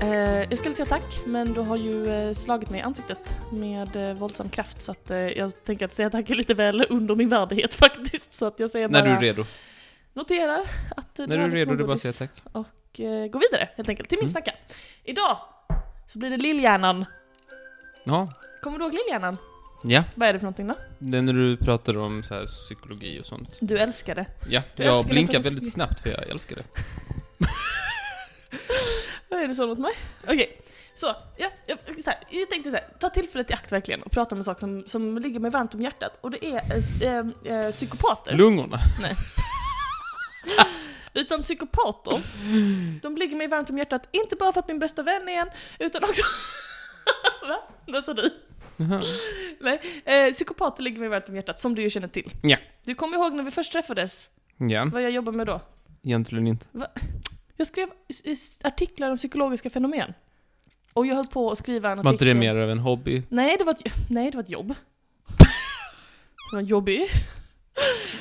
S3: Eh, jag skulle säga tack, men du har ju eh, slagit mig i ansiktet med eh, våldsam kraft så att eh, jag tänker att säga tack är lite väl under min värdighet faktiskt. Så att jag säger
S1: När
S3: bara...
S1: du är redo.
S3: Noterar att eh,
S1: När du är
S3: hade
S1: redo, du bara
S3: smågodis.
S1: säger tack.
S3: Och eh, gå vidare helt enkelt till min
S1: Mm.
S3: snacka. Idag så blir det lillhjärnan.
S1: Ja.
S3: Kommer du ihåg lillhjärnan?
S1: Ja.
S3: Vad är det för någonting då?
S1: Det är när du pratade om så här psykologi och sånt.
S3: Du älskar det.
S1: Ja,
S3: Du
S1: jag
S3: älskar
S1: blinkar
S3: den för
S1: väldigt
S3: musik.
S1: snabbt för jag älskar det.
S3: Vad är det så mot mig? Okej, så, ja, jag, så här, jag tänkte så här, ta tillfället i akt verkligen och prata om en sak som, som ligger mig varmt om hjärtat och det är eh, s- eh, eh, psykopater.
S1: Lungorna.
S3: Utan psykopater, de ligger mig varmt om hjärtat, inte bara för att min bästa vän är en, utan också... Va? Vad sa du?
S1: Jaha.
S3: Nej, eh, psykopater ligger mig varmt om hjärtat, som du ju känner till.
S1: Ja.
S3: Du kommer ihåg när vi först träffades,
S1: Ja,
S3: vad jag jobbade med då?
S1: egentligen inte.
S3: Jag skrev s- s- artiklar om psykologiska fenomen. Och jag höll på att skriva en
S1: Var inte det
S3: artikel-
S1: mer av en hobby?
S3: Nej, det var ett, nej, det var ett jobb. Det var jobbig.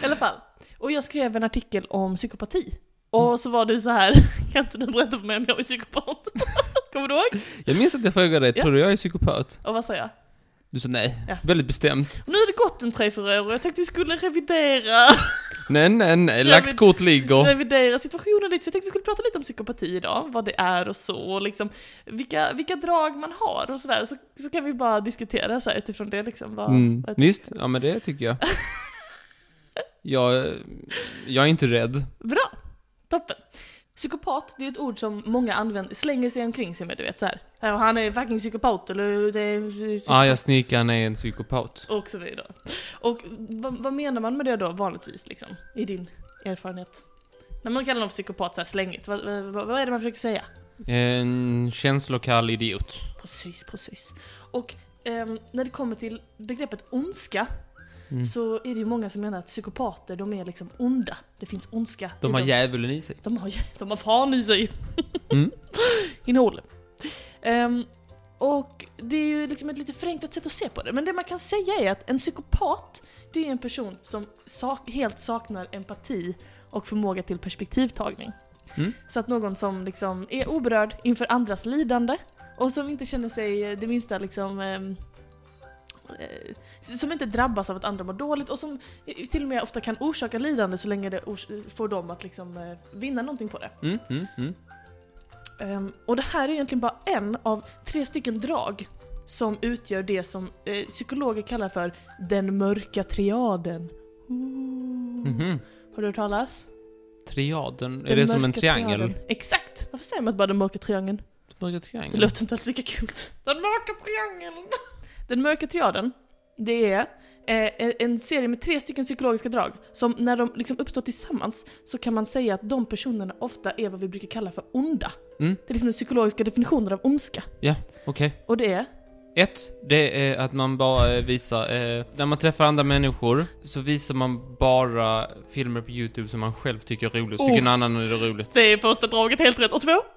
S3: I alla fall. Och jag skrev en artikel om psykopati.
S1: Mm.
S3: Och så var du så här, kan inte du berätta för mig om jag är psykopat? Kommer du ihåg?
S1: Jag minns att jag frågade dig,
S3: Ja.
S1: tror du jag är psykopat?
S3: Och vad sa jag?
S1: Du sa nej.
S3: Ja.
S1: Väldigt bestämt.
S3: Nu har det gått en tre, fyra år och jag tänkte vi skulle revidera,
S1: Nej, nej, nej.
S3: Jag
S1: Lagt
S3: vet-
S1: kort ligger.
S3: revidera situationen lite. Så jag tänkte vi skulle prata lite om psykopati idag, vad det är och så, och liksom vilka, vilka drag man har och sådär. Så, så kan vi bara diskutera så här, utifrån det liksom. Vad,
S1: Mm.
S3: vad jag
S1: Visst, ja men det tycker jag. Jag, jag är inte rädd.
S3: Bra! Toppen! Psykopat, det är ett ord som många använder, slänger sig omkring sig med, du vet så här. "Ja, Han är fucking psykopat, eller det är... psykopat."
S1: Ah, jag snikar, han är en psykopat.
S3: Och så vidare. Och vad, vad menar man med det då, vanligtvis, liksom? I din erfarenhet? När man kallar någon för psykopat så här slängigt, vad, vad, vad är det man försöker säga?
S1: En känslokall idiot.
S3: Precis, precis. Och ehm, när det kommer till begreppet ondska,
S1: Mm.
S3: så är det ju många som menar att psykopater, de är liksom onda. Det finns ondska i
S1: De har
S3: dem.
S1: djävulen i sig.
S3: De har, de har fan i sig.
S1: Mm.
S3: Innehåll. Ehm, och det är ju liksom ett lite förenklat sätt att se på det. Men det man kan säga är att en psykopat, det är en person som sak, helt saknar empati och förmåga till perspektivtagning.
S1: Mm.
S3: Så att någon som liksom är oberörd inför andras lidande och som inte känner sig eh, det minsta liksom ehm, eh, som inte drabbas av att andra mår dåligt och som eh, till och med ofta kan orsaka lidande så länge det ors- får dem att liksom eh, vinna någonting på det.
S1: Mm, mm, mm.
S3: Ehm, och det här är egentligen bara en av tre stycken drag som utgör det som eh, psykologer kallar för den mörka triaden. Ooh.
S1: Mhm.
S3: Har du hört talas?
S1: Triaden, är
S3: Den
S1: det som en
S3: mörka
S1: triangel?
S3: triaden. Exakt! Varför säger man bara den mörka triangeln?
S1: Mörka
S3: Det
S1: triangel?
S3: låter inte alls lika kul. Den mörka triangeln! Den mörka triaden, det är eh, en- en serie med tre stycken psykologiska drag som när de liksom uppstår tillsammans så kan man säga att de personerna ofta är vad vi brukar kalla för onda.
S1: Mm.
S3: Det är liksom den psykologiska definitionen av ondska.
S1: Okej.
S3: Och det är
S1: Ett, det är att man bara eh, visar, eh, när man träffar andra människor så visar man bara filmer på YouTube som man själv tycker är roligt,
S3: Oh.
S1: tycker en annan är det roligt.
S3: Det är första draget helt rätt. Och två?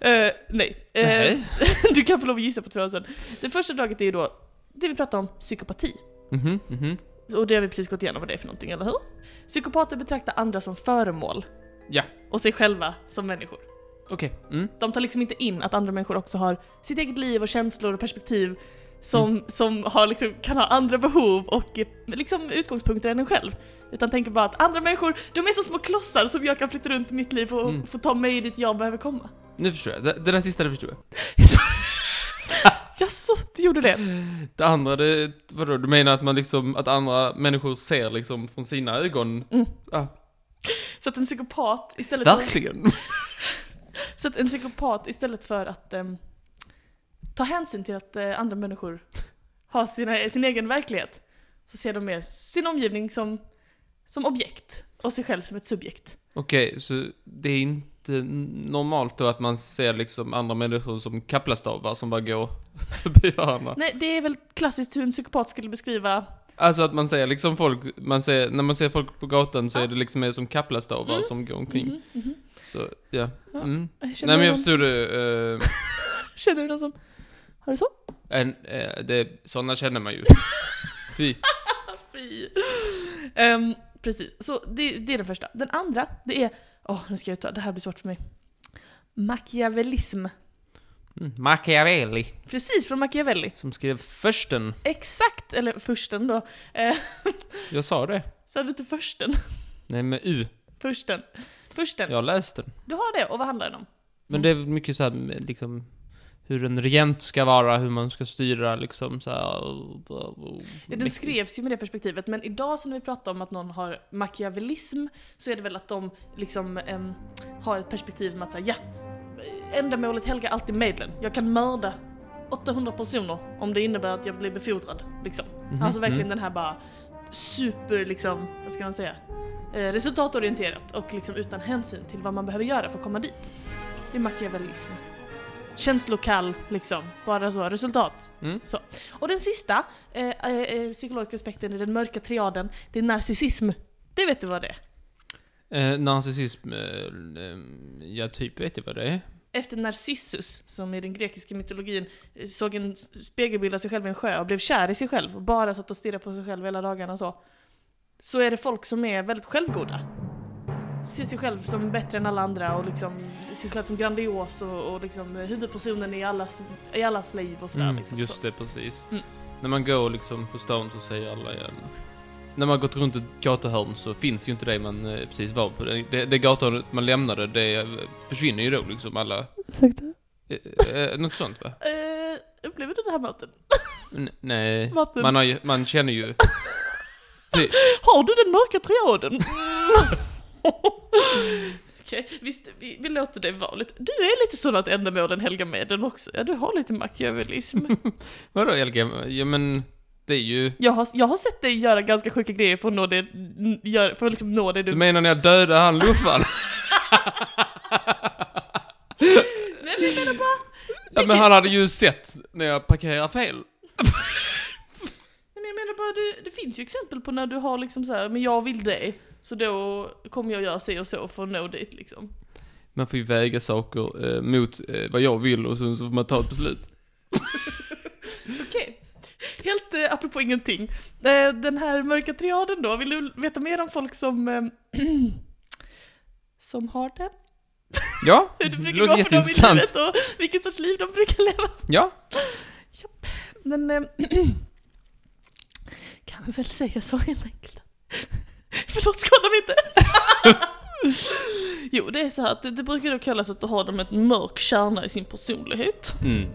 S3: Eh, nej. Eh,
S1: Nej.
S3: du kan få lov att gissa på två sen. Det första draget är ju då det vi pratar om, psykopati.
S1: Mhm, mhm.
S3: Och det har vi precis gått igenom vad det är för någonting, eller hur? Psykopater betraktar andra som föremål.
S1: Ja.
S3: Och sig själva som människor.
S1: Okej. Mm.
S3: De tar liksom inte in att andra människor också har sitt eget liv och känslor och perspektiv som,
S1: Mm.
S3: som har liksom, kan ha andra behov och eh, liksom utgångspunkter än en själv. Utan tänker bara att andra människor, de är som små klossar som jag kan flytta runt i mitt liv och
S1: Mm.
S3: få ta mig dit jag behöver komma.
S1: Nu förstår jag. Det, det där sista det förstår jag.
S3: Jaså, du gjorde det?
S1: Mm. Det andra, det, vadå, du menar att man liksom, att andra människor ser liksom från sina ögon?
S3: Mm.
S1: Ah,
S3: Så att en psykopat istället för,
S1: verkligen?
S3: så att en psykopat istället för att ehm, ta hänsyn till att eh, andra människor har sina, sin egen verklighet så ser de mer sin omgivning som, som objekt och sig själv som ett subjekt.
S1: Okej, så det är inte n- normalt då att man ser liksom andra människor som kaplastavar som bara går förbi varandra?
S3: Nej, det är väl klassiskt hur en psykopat skulle beskriva...
S1: Alltså att man ser liksom folk, man ser, när man ser folk på gatan så
S3: Ja.
S1: är det liksom mer som kaplastavar som går omkring.
S3: Mhm, mhm.
S1: Så, ja.
S3: Ja.
S1: Mm.
S3: Känner,
S1: Nej men jag
S3: du
S1: förstod det. eh,
S3: någon, känner du någon som... Har du så?
S1: en, eh, det sådana känner man ju. Fy.
S3: Fy! Ehm, precis, så det, det är den första. Den andra, det är... Åh, nu ska jag ta... Det här blir svårt för mig. Machiavellism.
S1: Mm. Machiavelli,
S3: Precis från Machiavelli.
S1: som skrev försten.
S3: Exakt, eller försten då. Eh,
S1: Jag sa det.
S3: Sa du inte försten?
S1: Nej, med U.
S3: Försten. Försten.
S1: Jag läste den.
S3: Du har det, och vad handlar den om?
S1: Men det är mycket så här, liksom, hur en regent ska vara, hur man ska styra, liksom så här, och, och, och,
S3: Ja, Den skrevs ju med det perspektivet, men idag så när vi pratar om att någon har machiavellism så är det väl att de liksom em, har ett perspektiv med att säga ja, ändamålet helgar alltid medlen. Jag kan mörda 800 personer om det innebär att jag blir befordrad. Liksom.
S1: Mhm.
S3: Alltså verkligen
S1: Mm.
S3: den här bara super, liksom, vad ska man säga, eh, resultatorienterat och liksom utan hänsyn till vad man behöver göra för att komma dit. Det är machiavellism. Känslokall, liksom. Bara så, resultat.
S1: Mm.
S3: Så. Och den sista eh, eh, eh, psykologiska aspekten i den mörka triaden, det är narcissism. Det vet du vad det är?
S1: Eh, narcissism, eh, eh, ja typ vet jag vad det är.
S3: Efter Narcissus, som i den grekiska mytologin eh, såg en s- spegelbild av sig själv i en sjö och blev kär i sig själv och bara satt och stirrade på sig själv hela dagarna så. Så är det folk som är väldigt självgoda. Ser sig själv som bättre än alla andra och liksom ser sig själv som grandios och, och liksom eh, huvudpersonen i allas, i allas liv och sådär.
S1: Mm,
S3: liksom, så.
S1: just det, precis.
S3: Mm.
S1: När man går liksom på stan så säger alla igen. När man har gått runt ett gatuhörn så finns ju inte det man eh, precis var på. Det, det, det gatuhörnet man lämnade, det eh, försvinner ju då liksom alla. Eh, eh, något sånt va?
S3: Eh, upplever du det här mötet?
S1: N- nej,
S3: Martin.
S1: man, har ju, man känner ju... Ty-
S3: Har du den mörka triaden? Okej, visst, vi, vi låter det vara lite. Du är lite sån att ändamålen helgar medlen också. Ja, du har lite machiavellism.
S1: Vadå LG? Ja men, det är ju...
S3: jag, har, jag har sett dig göra ganska sjuka grejer för att nå det, n- gör, för att liksom nå det du...
S1: Du menar när jag dödade han luffaren?
S3: Nej, men jag menar bara...
S1: ja men han hade ju sett när jag parkerar fel.
S3: Nej, men jag menar bara det, det finns ju exempel på när du har liksom så här, men jag vill dig, så då kommer jag göra si och så för att nå dit liksom.
S1: Man får ju väga saker eh, mot eh, vad jag vill och sen så får man ta ett beslut.
S3: Okej. Helt eh, apropå ingenting. Eh, den här mörka triaden då, vill du veta mer om folk som, eh, som har den?
S1: Ja,
S3: Hur det
S1: det
S3: brukar
S1: låter
S3: gå för dem i
S1: jätteintressant.
S3: livet och vilket sorts liv de brukar leva?
S1: Ja,
S3: Men eh, kan vi väl säga så helt enkelt. Förlåt, skadar inte? jo, det är så här att det, det brukar då kallas att då har de ett mörk kärna i sin personlighet.
S1: mm.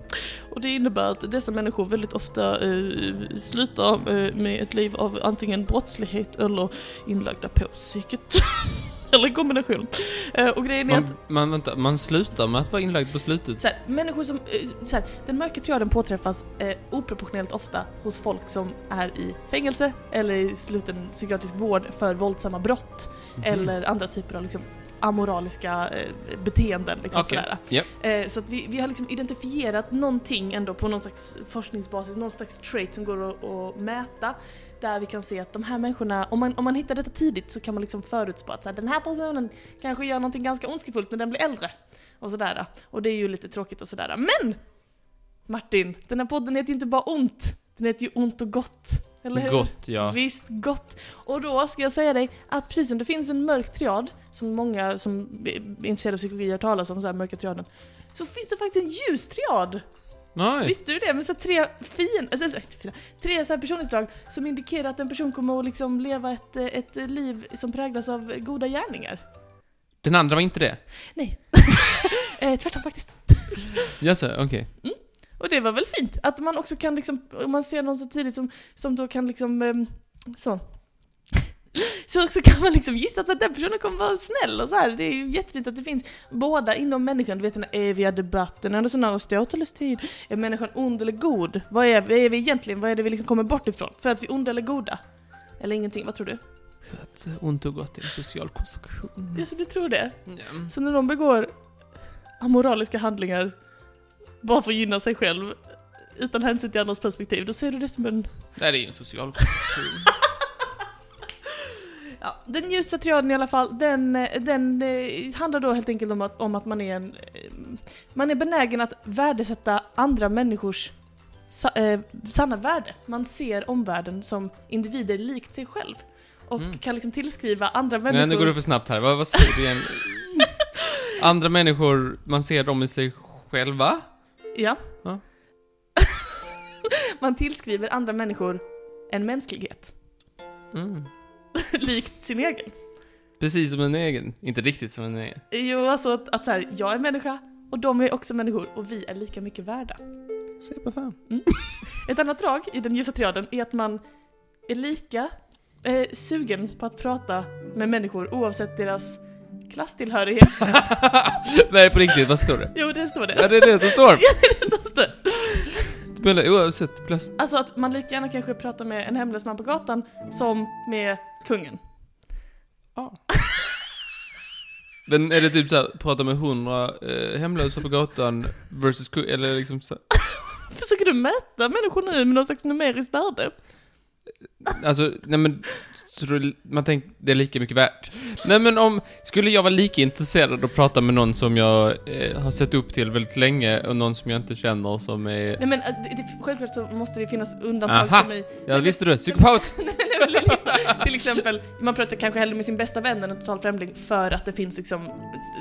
S3: Och det innebär att dessa människor väldigt ofta eh, slutar eh, med ett liv av antingen brottslighet eller inlagda på psyket. eller en kombination. Eh, och grejen är att
S1: man, man, vänta, man slutar med att vara inlagd på slutet.
S3: så här, människor som, eh, så här, den mörka triaden påträffas eh, oproportionellt ofta hos folk som är i fängelse eller i sluten psykiatrisk vård för våldsamma brott
S1: Mhm.
S3: eller andra typer av liksom, amoraliska eh, beteenden. Liksom,
S1: Okej.
S3: sådär.
S1: Ja.
S3: Eh, så att vi, vi har liksom identifierat någonting ändå på någon slags forskningsbasis, någon slags trait som går att, att mäta. Där vi kan se att de här människorna, om man, om man hittar detta tidigt så kan man liksom förutspå att så här, den här personen kanske gör någonting ganska ondskefullt när den blir äldre. Och sådär. Och det är ju lite tråkigt och sådär. Men! Martin, den här podden heter ju inte bara ont. Den heter ju ont och gott. Eller hur?
S1: Gott, ja.
S3: Visst gott! Och då ska jag säga dig att precis som det finns en mörk triad, som många som är intresserade av psykologi har hört talas om, så här mörka triaden, så finns det faktiskt en ljus triad!
S1: Nej.
S3: Visste du det? Men så här tre fin, alltså, så här, inte fina, tre så här personlighetsdrag som indikerar att en person kommer att liksom leva ett, eh, ett eh, liv som präglas av goda gärningar.
S1: Den andra var inte det?
S3: Nej, eh, tvärtom faktiskt.
S1: Jaså, okej.
S3: Och det var väl fint? Att man också kan liksom, om man ser någon så tidigt som, som då kan liksom, ehm, så. Så också kan man liksom gissa att den personen kommer vara snäll och så här. Det är ju jättefint att det finns båda inom människan. Du vet den här eviga debatten under sån här Aristoteles tid. Är människan ond eller god? Vad är, vad är vi egentligen? Vad är det vi liksom kommer bort ifrån? För att vi är onda eller goda? Eller ingenting, vad tror du?
S1: För att eh, ont och gott är en social konstruktion.
S3: Jaså, du tror det?
S1: Ja.
S3: Så när de begår amoraliska handlingar bara för att gynna sig själv utan hänsyn till andras perspektiv, då ser du det som en...
S1: Nej, det är ju en social konstruktion.
S3: Ja, den ljusa triaden i alla fall, den, eh, den eh, handlar då helt enkelt om att, om att man är en... eh, Man är benägen att värdesätta andra människors sa, eh, sanna värde. Man ser omvärlden som individer likt sig själv. Och
S1: Mm.
S3: kan liksom tillskriva andra
S1: Nej,
S3: människor...
S1: nu går det för snabbt här. Vad, vad säger du igen? Andra människor, man ser dem i sig själva.
S3: Ja.
S1: Ja.
S3: Man tillskriver andra människor en mänsklighet,
S1: Mm.
S3: likt sin egen.
S1: Precis som en egen. Inte riktigt som en egen.
S3: Jo, alltså att, att så här, jag är människa och de är också människor och vi är lika mycket värda.
S1: Se på fan.
S3: Ett annat drag i den ljusa triaden är att man är lika eh, sugen på att prata med människor oavsett deras klasstillhörighet.
S1: Nej, på riktigt. Vad står det?
S3: Jo, det står
S1: Ja,
S3: det.
S1: det är det som står.
S3: Så står det.
S1: Spela oavsett klass.
S3: Alltså att man lika gärna kanske pratar med en hemlös man på gatan som med kungen.
S1: Ja. Men är det typ såhär, prata med hundra eh, hemlösa på gatan versus ku- eller liksom så,
S3: Försöker du mäta människor nu med någon slags numeriskt värde?
S1: Alltså, nej men, så då, man tänker, det är lika mycket värt. Nej men om, skulle jag vara lika intresserad att prata med någon som jag eh, har sett upp till väldigt länge och någon som jag inte känner som är...
S3: Nej men eh, det, det, självklart så måste det finnas undantag
S1: Aha.
S3: som i...
S1: Ja, visste du? Psykopat!
S3: Nej, nej, men lyssna. Till exempel, man pratar kanske hellre med sin bästa vän än en total främling för att det finns liksom,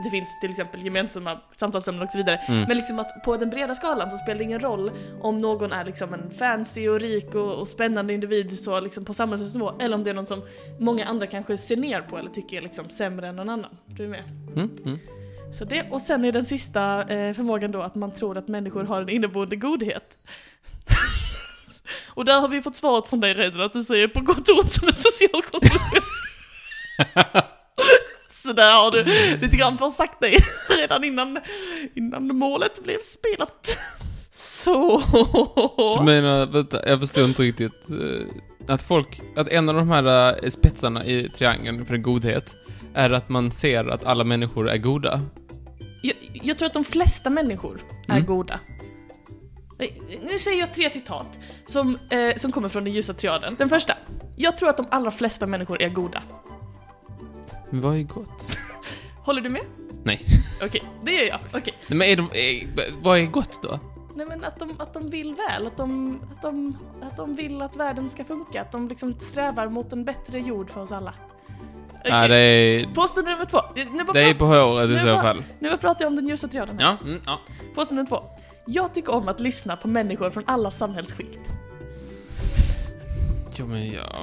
S3: det finns till exempel gemensamma samtalsämnen och så vidare.
S1: Mm.
S3: Men liksom att på den breda skalan så spelar det ingen roll om någon är liksom en fancy och rik och, och spännande individ så liksom på samhällsnivå eller om det är någon som många andra kanske ser ner på eller tycker är liksom sämre än någon annan. Du är med?
S1: Mm, mm.
S3: Så det, och sen är den sista eh, förmågan då att man tror att människor har en inneboende godhet. och där har vi fått svaret från dig redan att du säger på gott och ont som en social konstruktion. Så där har du lite grann försagt dig redan innan, innan målet blev spelat. Så...
S1: Du menar, vänta, jag förstår inte riktigt. eh, Att folk, att en av de här eh, spetsarna i triangeln för godhet är att man ser att alla människor är goda.
S3: Jag, jag tror att de flesta människor är
S1: Mm.
S3: goda. Nej, Nu säger jag tre citat som, eh, som kommer från den ljusa triaden. Den första. Jag tror att de allra flesta människor är goda.
S1: Men vad är gott?
S3: Håller du med?
S1: Nej.
S3: Okej, det gör jag. Okej.
S1: Nej, men är de, är, vad är gott då?
S3: Nej men att de, att de vill väl, att de, att, de, att de vill att världen ska funka, att de liksom strävar mot en bättre jord för oss alla. Okej.
S1: Nej, det är,
S3: Påstående nummer två. Nu bara,
S1: det är
S3: pra-
S1: på håret i
S3: Men
S1: så
S3: vad-
S1: fall.
S3: nu bara pratar jag om den ljusa triaden. här.
S1: Ja, mm, ja.
S3: Påstående nummer två. Jag tycker om att lyssna på människor från alla samhällsskikt.
S1: Jo, men ja.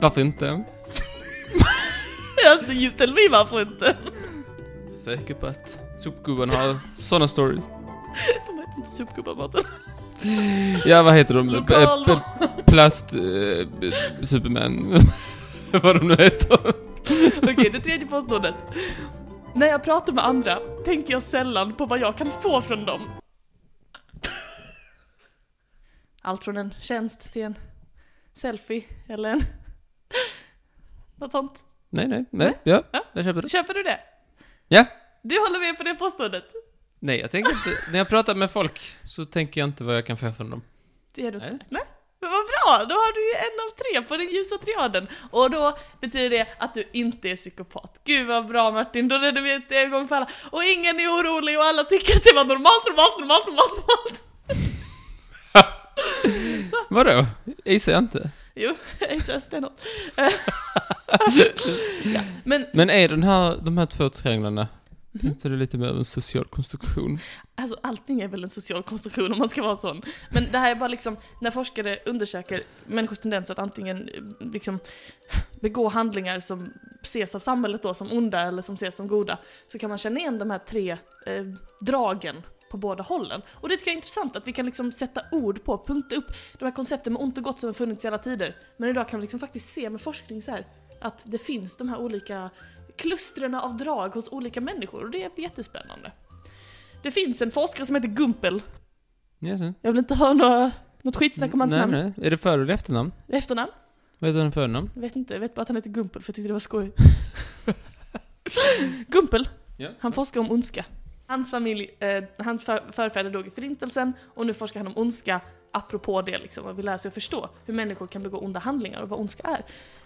S1: Varför inte?
S3: Jag Tell mig varför inte?
S1: Säker på att sopgubben har såna stories.
S3: De heter inte sopgubbar Mårten.
S1: Ja, vad heter de?
S3: Lokal-
S1: P- p- Plast... eh, b- Superman. vad de nu heter.
S3: Okej, det tredje påståendet. När jag pratar med andra tänker jag sällan på vad jag kan få från dem. Allt från en tjänst till en selfie eller en... Något sånt.
S1: Nej, nej, nej. Ja,
S3: Ja.
S1: jag köper det.
S3: Köper du det?
S1: Ja.
S3: Du håller med på det påståendet?
S1: Nej, jag tänker inte... När jag pratar med folk så tänker jag inte vad jag kan få från dem.
S3: Det gör du inte.
S1: Nej.
S3: Nej. Men vad bra! Då har du ju en av tre på den ljusa triaden. Och då betyder det att du inte är psykopat. Gud vad bra Martin, då redde vi ut en gång för alla. Och ingen är orolig och alla tycker att det var normalt, normalt, normalt, normalt, normalt.
S1: Vadå? Gissar jag inte.
S3: Jo, exakt, det är något. Eh, ja, men,
S1: Men är den här, de här två trianglarna,
S3: Mhm.
S1: inte det lite mer av en social konstruktion?
S3: alltså allting är väl en social konstruktion om man ska vara sån. Men det här är bara liksom, när forskare undersöker människors tendens att antingen eh, liksom begå handlingar som ses av samhället då som onda eller som ses som goda, så kan man känna igen de här tre eh, dragen på båda hållen. Och det tycker jag är intressant, att vi kan liksom sätta ord på, punkta upp de här koncepten med ont och gott som har funnits i alla tider. Men idag kan vi liksom faktiskt se med forskning så här att det finns de här olika klustren av drag hos olika människor och det är jättespännande. Det finns en forskare som heter Gumpel.
S1: Yes.
S3: Jag vill inte höra några, något skitsnack om hans
S1: nej,
S3: namn.
S1: nej. Är det för eller efternamn?
S3: Efternamn?
S1: Vad heter den förnamn?
S3: Jag vet inte, jag vet bara att han heter Gumpel för jag tyckte det var skoj. Gumpel,
S1: Ja.
S3: han forskar om ondska. Hans familj, eh, hans för, förfäder dog i förintelsen och nu forskar han om ondska apropå det liksom och vill lära sig att förstå hur människor kan begå onda handlingar och vad ondska är.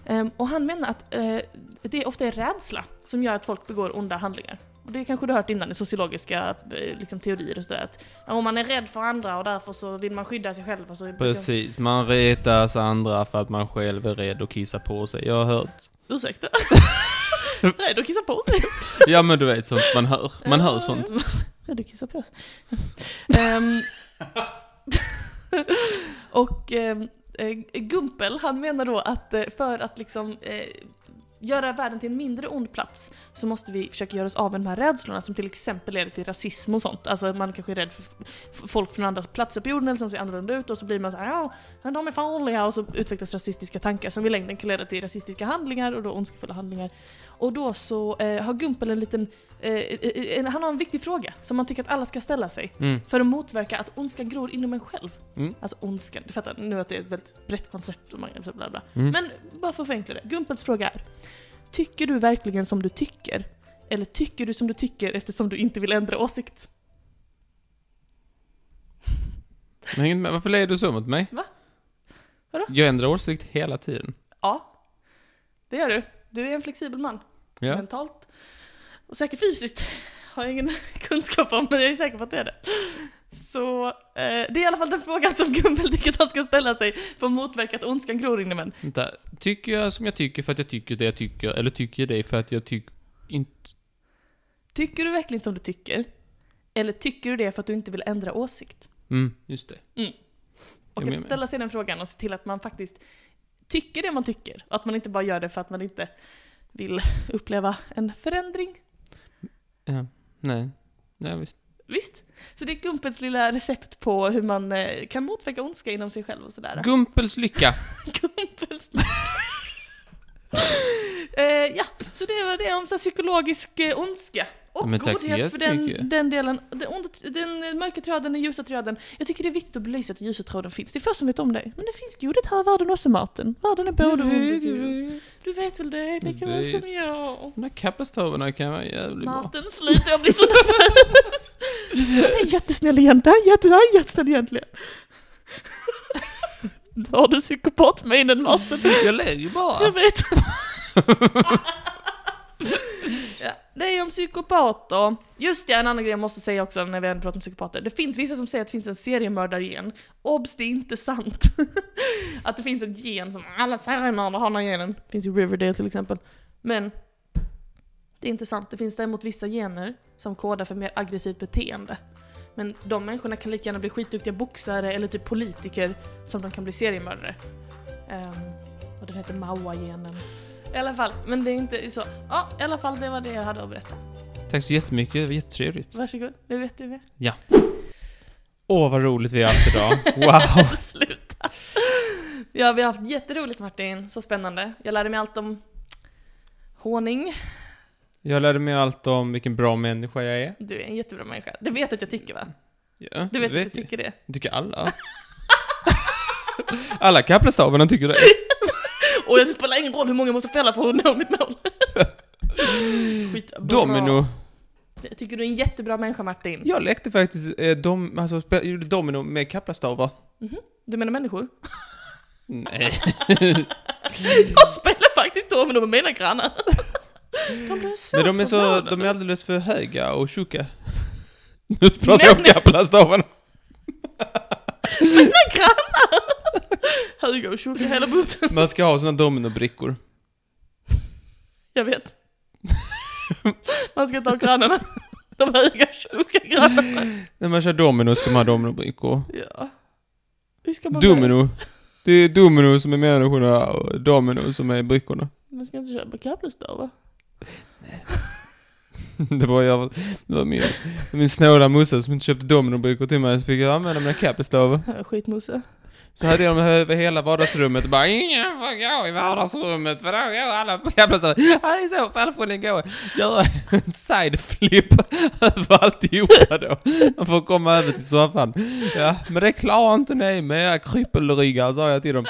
S3: Ehm, och han menar att eh, det ofta är rädsla som gör att folk begår onda handlingar. Och det kanske du har hört innan i sociologiska eh, liksom, teorier och sådär att ja, om man är rädd för andra och därför så vill man skydda sig själv och så...
S1: Precis, man retas andra för att man själv är rädd att kissa på sig. Jag har hört.
S3: Ursäkta? Rädd att kissa på sig.
S1: Ja men du vet sånt man hör. Man
S3: Ehm,
S1: hör sånt.
S3: Rädd att kissa på sig. Ehm, och ehm, eh, Gumpel, han menar då att eh, för att liksom eh, göra världen till en mindre ond plats så måste vi försöka göra oss av med de här rädslorna som till exempel leder till rasism och sånt. Alltså man kanske är rädd för f- folk från andra platser på jorden eller som ser annorlunda ut och så blir man så här, ja, men de är farliga och så utvecklas rasistiska tankar som i längden kan leda till rasistiska handlingar och då ondskefulla handlingar. Och då så eh, har Gumpel en liten, eh, eh, en, han har en viktig fråga som man tycker att alla ska ställa sig
S1: Mm.
S3: för att motverka att ondskan gror inom en själv.
S1: Mm.
S3: Alltså ondskan, du fattar nu att det är ett väldigt brett koncept och man bla bla bla.
S1: Mm.
S3: Men bara för att förenkla det, Gumpels fråga är Tycker du verkligen som du tycker? Eller tycker du som du tycker eftersom du inte vill ändra åsikt?
S1: Jag hänger inte med. Varför ler du så mot mig?
S3: Va? Vadå?
S1: Jag ändrar åsikt hela tiden.
S3: Ja, det gör du. Du är en flexibel man.
S1: Ja.
S3: Mentalt och säkert fysiskt. Har jag ingen kunskap om, men jag är säker på att det är det. Så eh, det är i alla fall den frågan som Gumpel tycker att han ska ställa sig för att motverka att ondskan gror inom en.
S1: Vänta. Tycker jag som jag tycker för att jag tycker det jag tycker, eller tycker jag det för att jag tycker inte...
S3: Tycker du verkligen som du tycker? Eller tycker du det för att du inte vill ändra åsikt?
S1: Mm, just det.
S3: Och
S1: Jo, men-
S3: att ställa sig den frågan och se till att man faktiskt tycker det man tycker. Och att man inte bara gör det för att man inte vill uppleva en förändring.
S1: Ja. Nej. Nej, visst.
S3: Visst? Så det är Gumpels lilla recept på hur man eh, kan motverka ondska inom sig själv och sådär.
S1: Gumpels lycka.
S3: Gumpels... eh, ja, så det var det om så här psykologisk eh, ondska.
S1: Ja,
S3: Och
S1: men tack så
S3: godhet för den,
S1: jättemycket.
S3: den delen. Den, onda, den mörka tråden, den ljusa tråden. Jag tycker det är viktigt att belysa att ljusa tråden finns. Det är få som vet om det. Men det finns godhet här i världen också, Martin. Världen är både ond och god. Du vet väl det, lika
S1: Jag
S3: väl som
S1: vet.
S3: jag.
S1: De där kappestavarna kan vara jävligt bra.
S3: Martin, sluta, jag blir så nervös! Han är jättesnäll egentligen, han är jätte- han är jättesnäll egentligen. Då har du psykopatminen, Martin.
S1: Jag ler ju bara.
S3: Jag vet. ja, det är om psykopater. Just det, en annan grej jag måste säga också när vi ändå pratar om psykopater. Det finns vissa som säger att det finns en seriemördargen. Obs, det är inte sant. att det finns en gen som alla seriemördare har den här genen. Det finns i Riverdale till exempel. Men det är inte sant. Det finns däremot vissa gener som kodar för mer aggressivt beteende. Men de människorna kan lika gärna bli skitduktiga boxare eller typ politiker som de kan bli seriemördare. Ehm, och den heter Maua-genen. I alla fall, men det är inte så. Ja, i alla fall det var det jag hade att berätta.
S1: Tack så jättemycket, det var jättetrevligt.
S3: Varsågod, nu vet du mer.
S1: Åh, vad roligt vi har haft idag. Wow.
S3: Sluta. Ja, vi har haft jätteroligt Martin. Så spännande. Jag lärde mig allt om honung.
S1: Jag lärde mig allt om vilken bra människa jag är.
S3: Du är en jättebra människa. Det vet du att jag tycker va?
S1: Ja,
S3: Du vet, att du
S1: jag.
S3: tycker det.
S1: Tycker alla. Alla kappestavarna tycker det.
S3: Och det spelar ingen roll hur många jag måste fälla för att nå mitt mål. Skitbra.
S1: Domino.
S3: Jag tycker du är en jättebra människa Martin.
S1: Jag lekte faktiskt eh, dom, alltså, spe- gjorde domino med kaplastavar.
S3: Du menar människor?
S1: Nej.
S3: Jag spelar faktiskt domino med mina grannar. De blev så
S1: Men de är så,
S3: förvånade.
S1: de är alldeles för höga och tjocka. Nu pratar jag om
S3: Nej, men-
S1: kaplastavarna.
S3: Mina grannar! Hugo och Tjocke hela bunten.
S1: Man ska ha såna dominobrickor.
S3: Jag vet. Man ska ta grannarna. De höga och tjocka grannarna.
S1: När man kör domino ska man ha dominobrickor.
S3: Ja. Hur ska man
S1: Domino. Det är domino som är människorna och domino som är brickorna.
S3: Man ska inte köpa kappelstavar.
S1: Det var jag, det var min, min snåla morsa som inte köpte dominobrickor till mig så fick jag använda mina kaplastavar.
S3: Här är Skitmosse.
S1: Så hade jag dem över hela vardagsrummet och bara ingen får gå i vardagsrummet för då går alla på jävla så här, i så fall får ni gå göra en sideflip över alltihopa då. De får komma över till soffan. Ja, men det klarar inte ni med era krypelryggar sa jag till dem.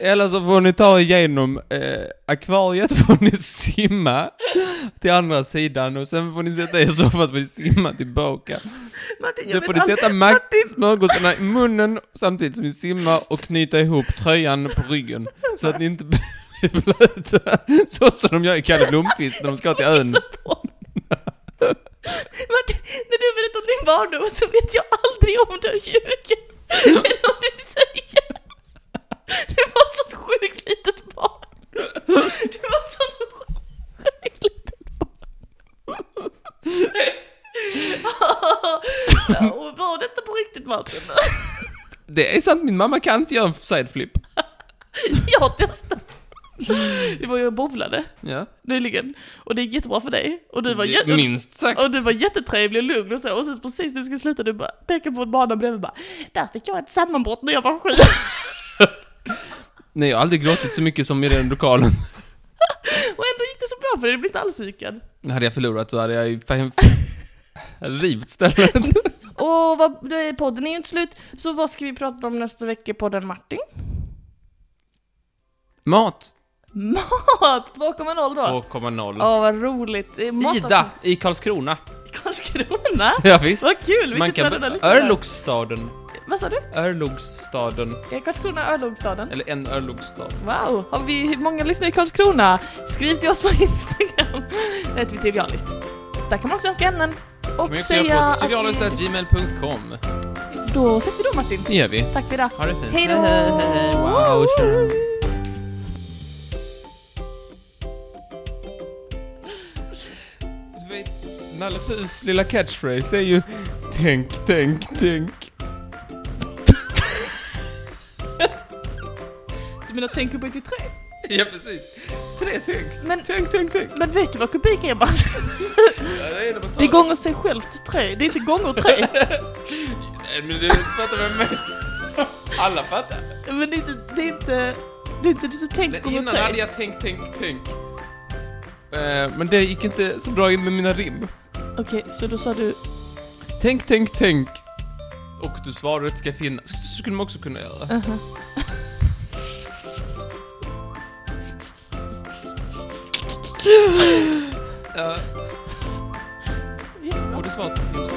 S1: Eller så får ni ta igenom eh, akvariet, får ni simma till andra sidan och sen får ni sätta er i soffan så får ni simma tillbaka.
S3: Martin,
S1: Sen får ni sätta mack- smörgåsarna i munnen samtidigt som ni simmar och knyta ihop tröjan på ryggen. Så att ni inte blir blöta. Så som de gör i Kalle Blomkvist när de ska till ön.
S3: Martin, när du berättar om din barndom så vet jag aldrig om du ljuger eller om du säger. Du var ett sånt sjukt litet barn. Du var ett sånt sjukt detta och var detta på riktigt Martin?
S1: Det är sant, min mamma kan inte göra en sideflip.
S3: Jag testade. Det var ju och bowlade
S1: Ja.
S3: nyligen och det gick jättebra för dig och du var, jätte,
S1: Minst sagt.
S3: och du var jättetrevlig och lugn och så och sen precis när vi skulle sluta du bara pekade på en bana bredvid och bara Där fick jag ett sammanbrott när jag var sju.
S1: Nej, jag har aldrig gråtit så mycket som i den lokalen.
S3: Och ändå gick det så bra för dig, du blev inte alls psykad.
S1: Hade jag förlorat så hade jag ju fan... rivit stället.
S3: Och vad, då är podden är ju inte slut, så vad ska vi prata om nästa vecka i podden Martin?
S1: Mat
S3: Mat! 2,0 då.
S1: 2,0.
S3: Åh vad roligt. Det är mat-
S1: Ida i Karlskrona.
S3: I Karlskrona?
S1: Ja, visst.
S3: Vad kul, vi
S1: Man
S3: sitter
S1: kan...
S3: med den här listan.
S1: Örlogsstaden.
S3: Vad sa du?
S1: Örlogsstaden.
S3: Är Karlskrona örlogsstaden?
S1: Eller en örlogsstad.
S3: Wow, har vi många lyssnare i Karlskrona? Skriv till oss på Instagram. Det heter vi Trivialist. Där kan man också önska ämnen och
S1: Men jag
S3: säga
S1: skriver på
S3: vi-
S1: trivialist.gmail.com.
S3: Då ses vi då Martin.
S1: Det gör vi.
S3: Tack för idag.
S1: Ha det fint.
S3: Hej då!
S1: Hej, hej, hej. Wow, tjena. Du vet, Nalle Puhs lilla catchphrase är ju Tänk, tänk, tänk.
S3: Du menar tänk upp till tre?
S1: Ja, precis. Tre tänk.
S3: Men-
S1: Tänk, tänk, tänk.
S3: Men vet du vad kubik är Martin?
S1: Ja, det är det man
S3: Det är
S1: talar om.
S3: gånger sig självt tre, det är inte gånger tre.
S1: Nej, Men du fattar vad jag menar. Alla fattar.
S3: Men det är inte, det är inte, det är inte du tänker
S1: Men
S3: gånger
S1: innan
S3: tre.
S1: hade jag tänk, tänk, tänk. Eh, Men det gick inte så bra in med mina rim.
S3: Okej, så då sa du,
S1: Tänk, tänk, tänk. Och du svaret ska finnas. Så skulle man också kunna göra.
S3: aha.
S1: Ja. Och du svaret ska finnas.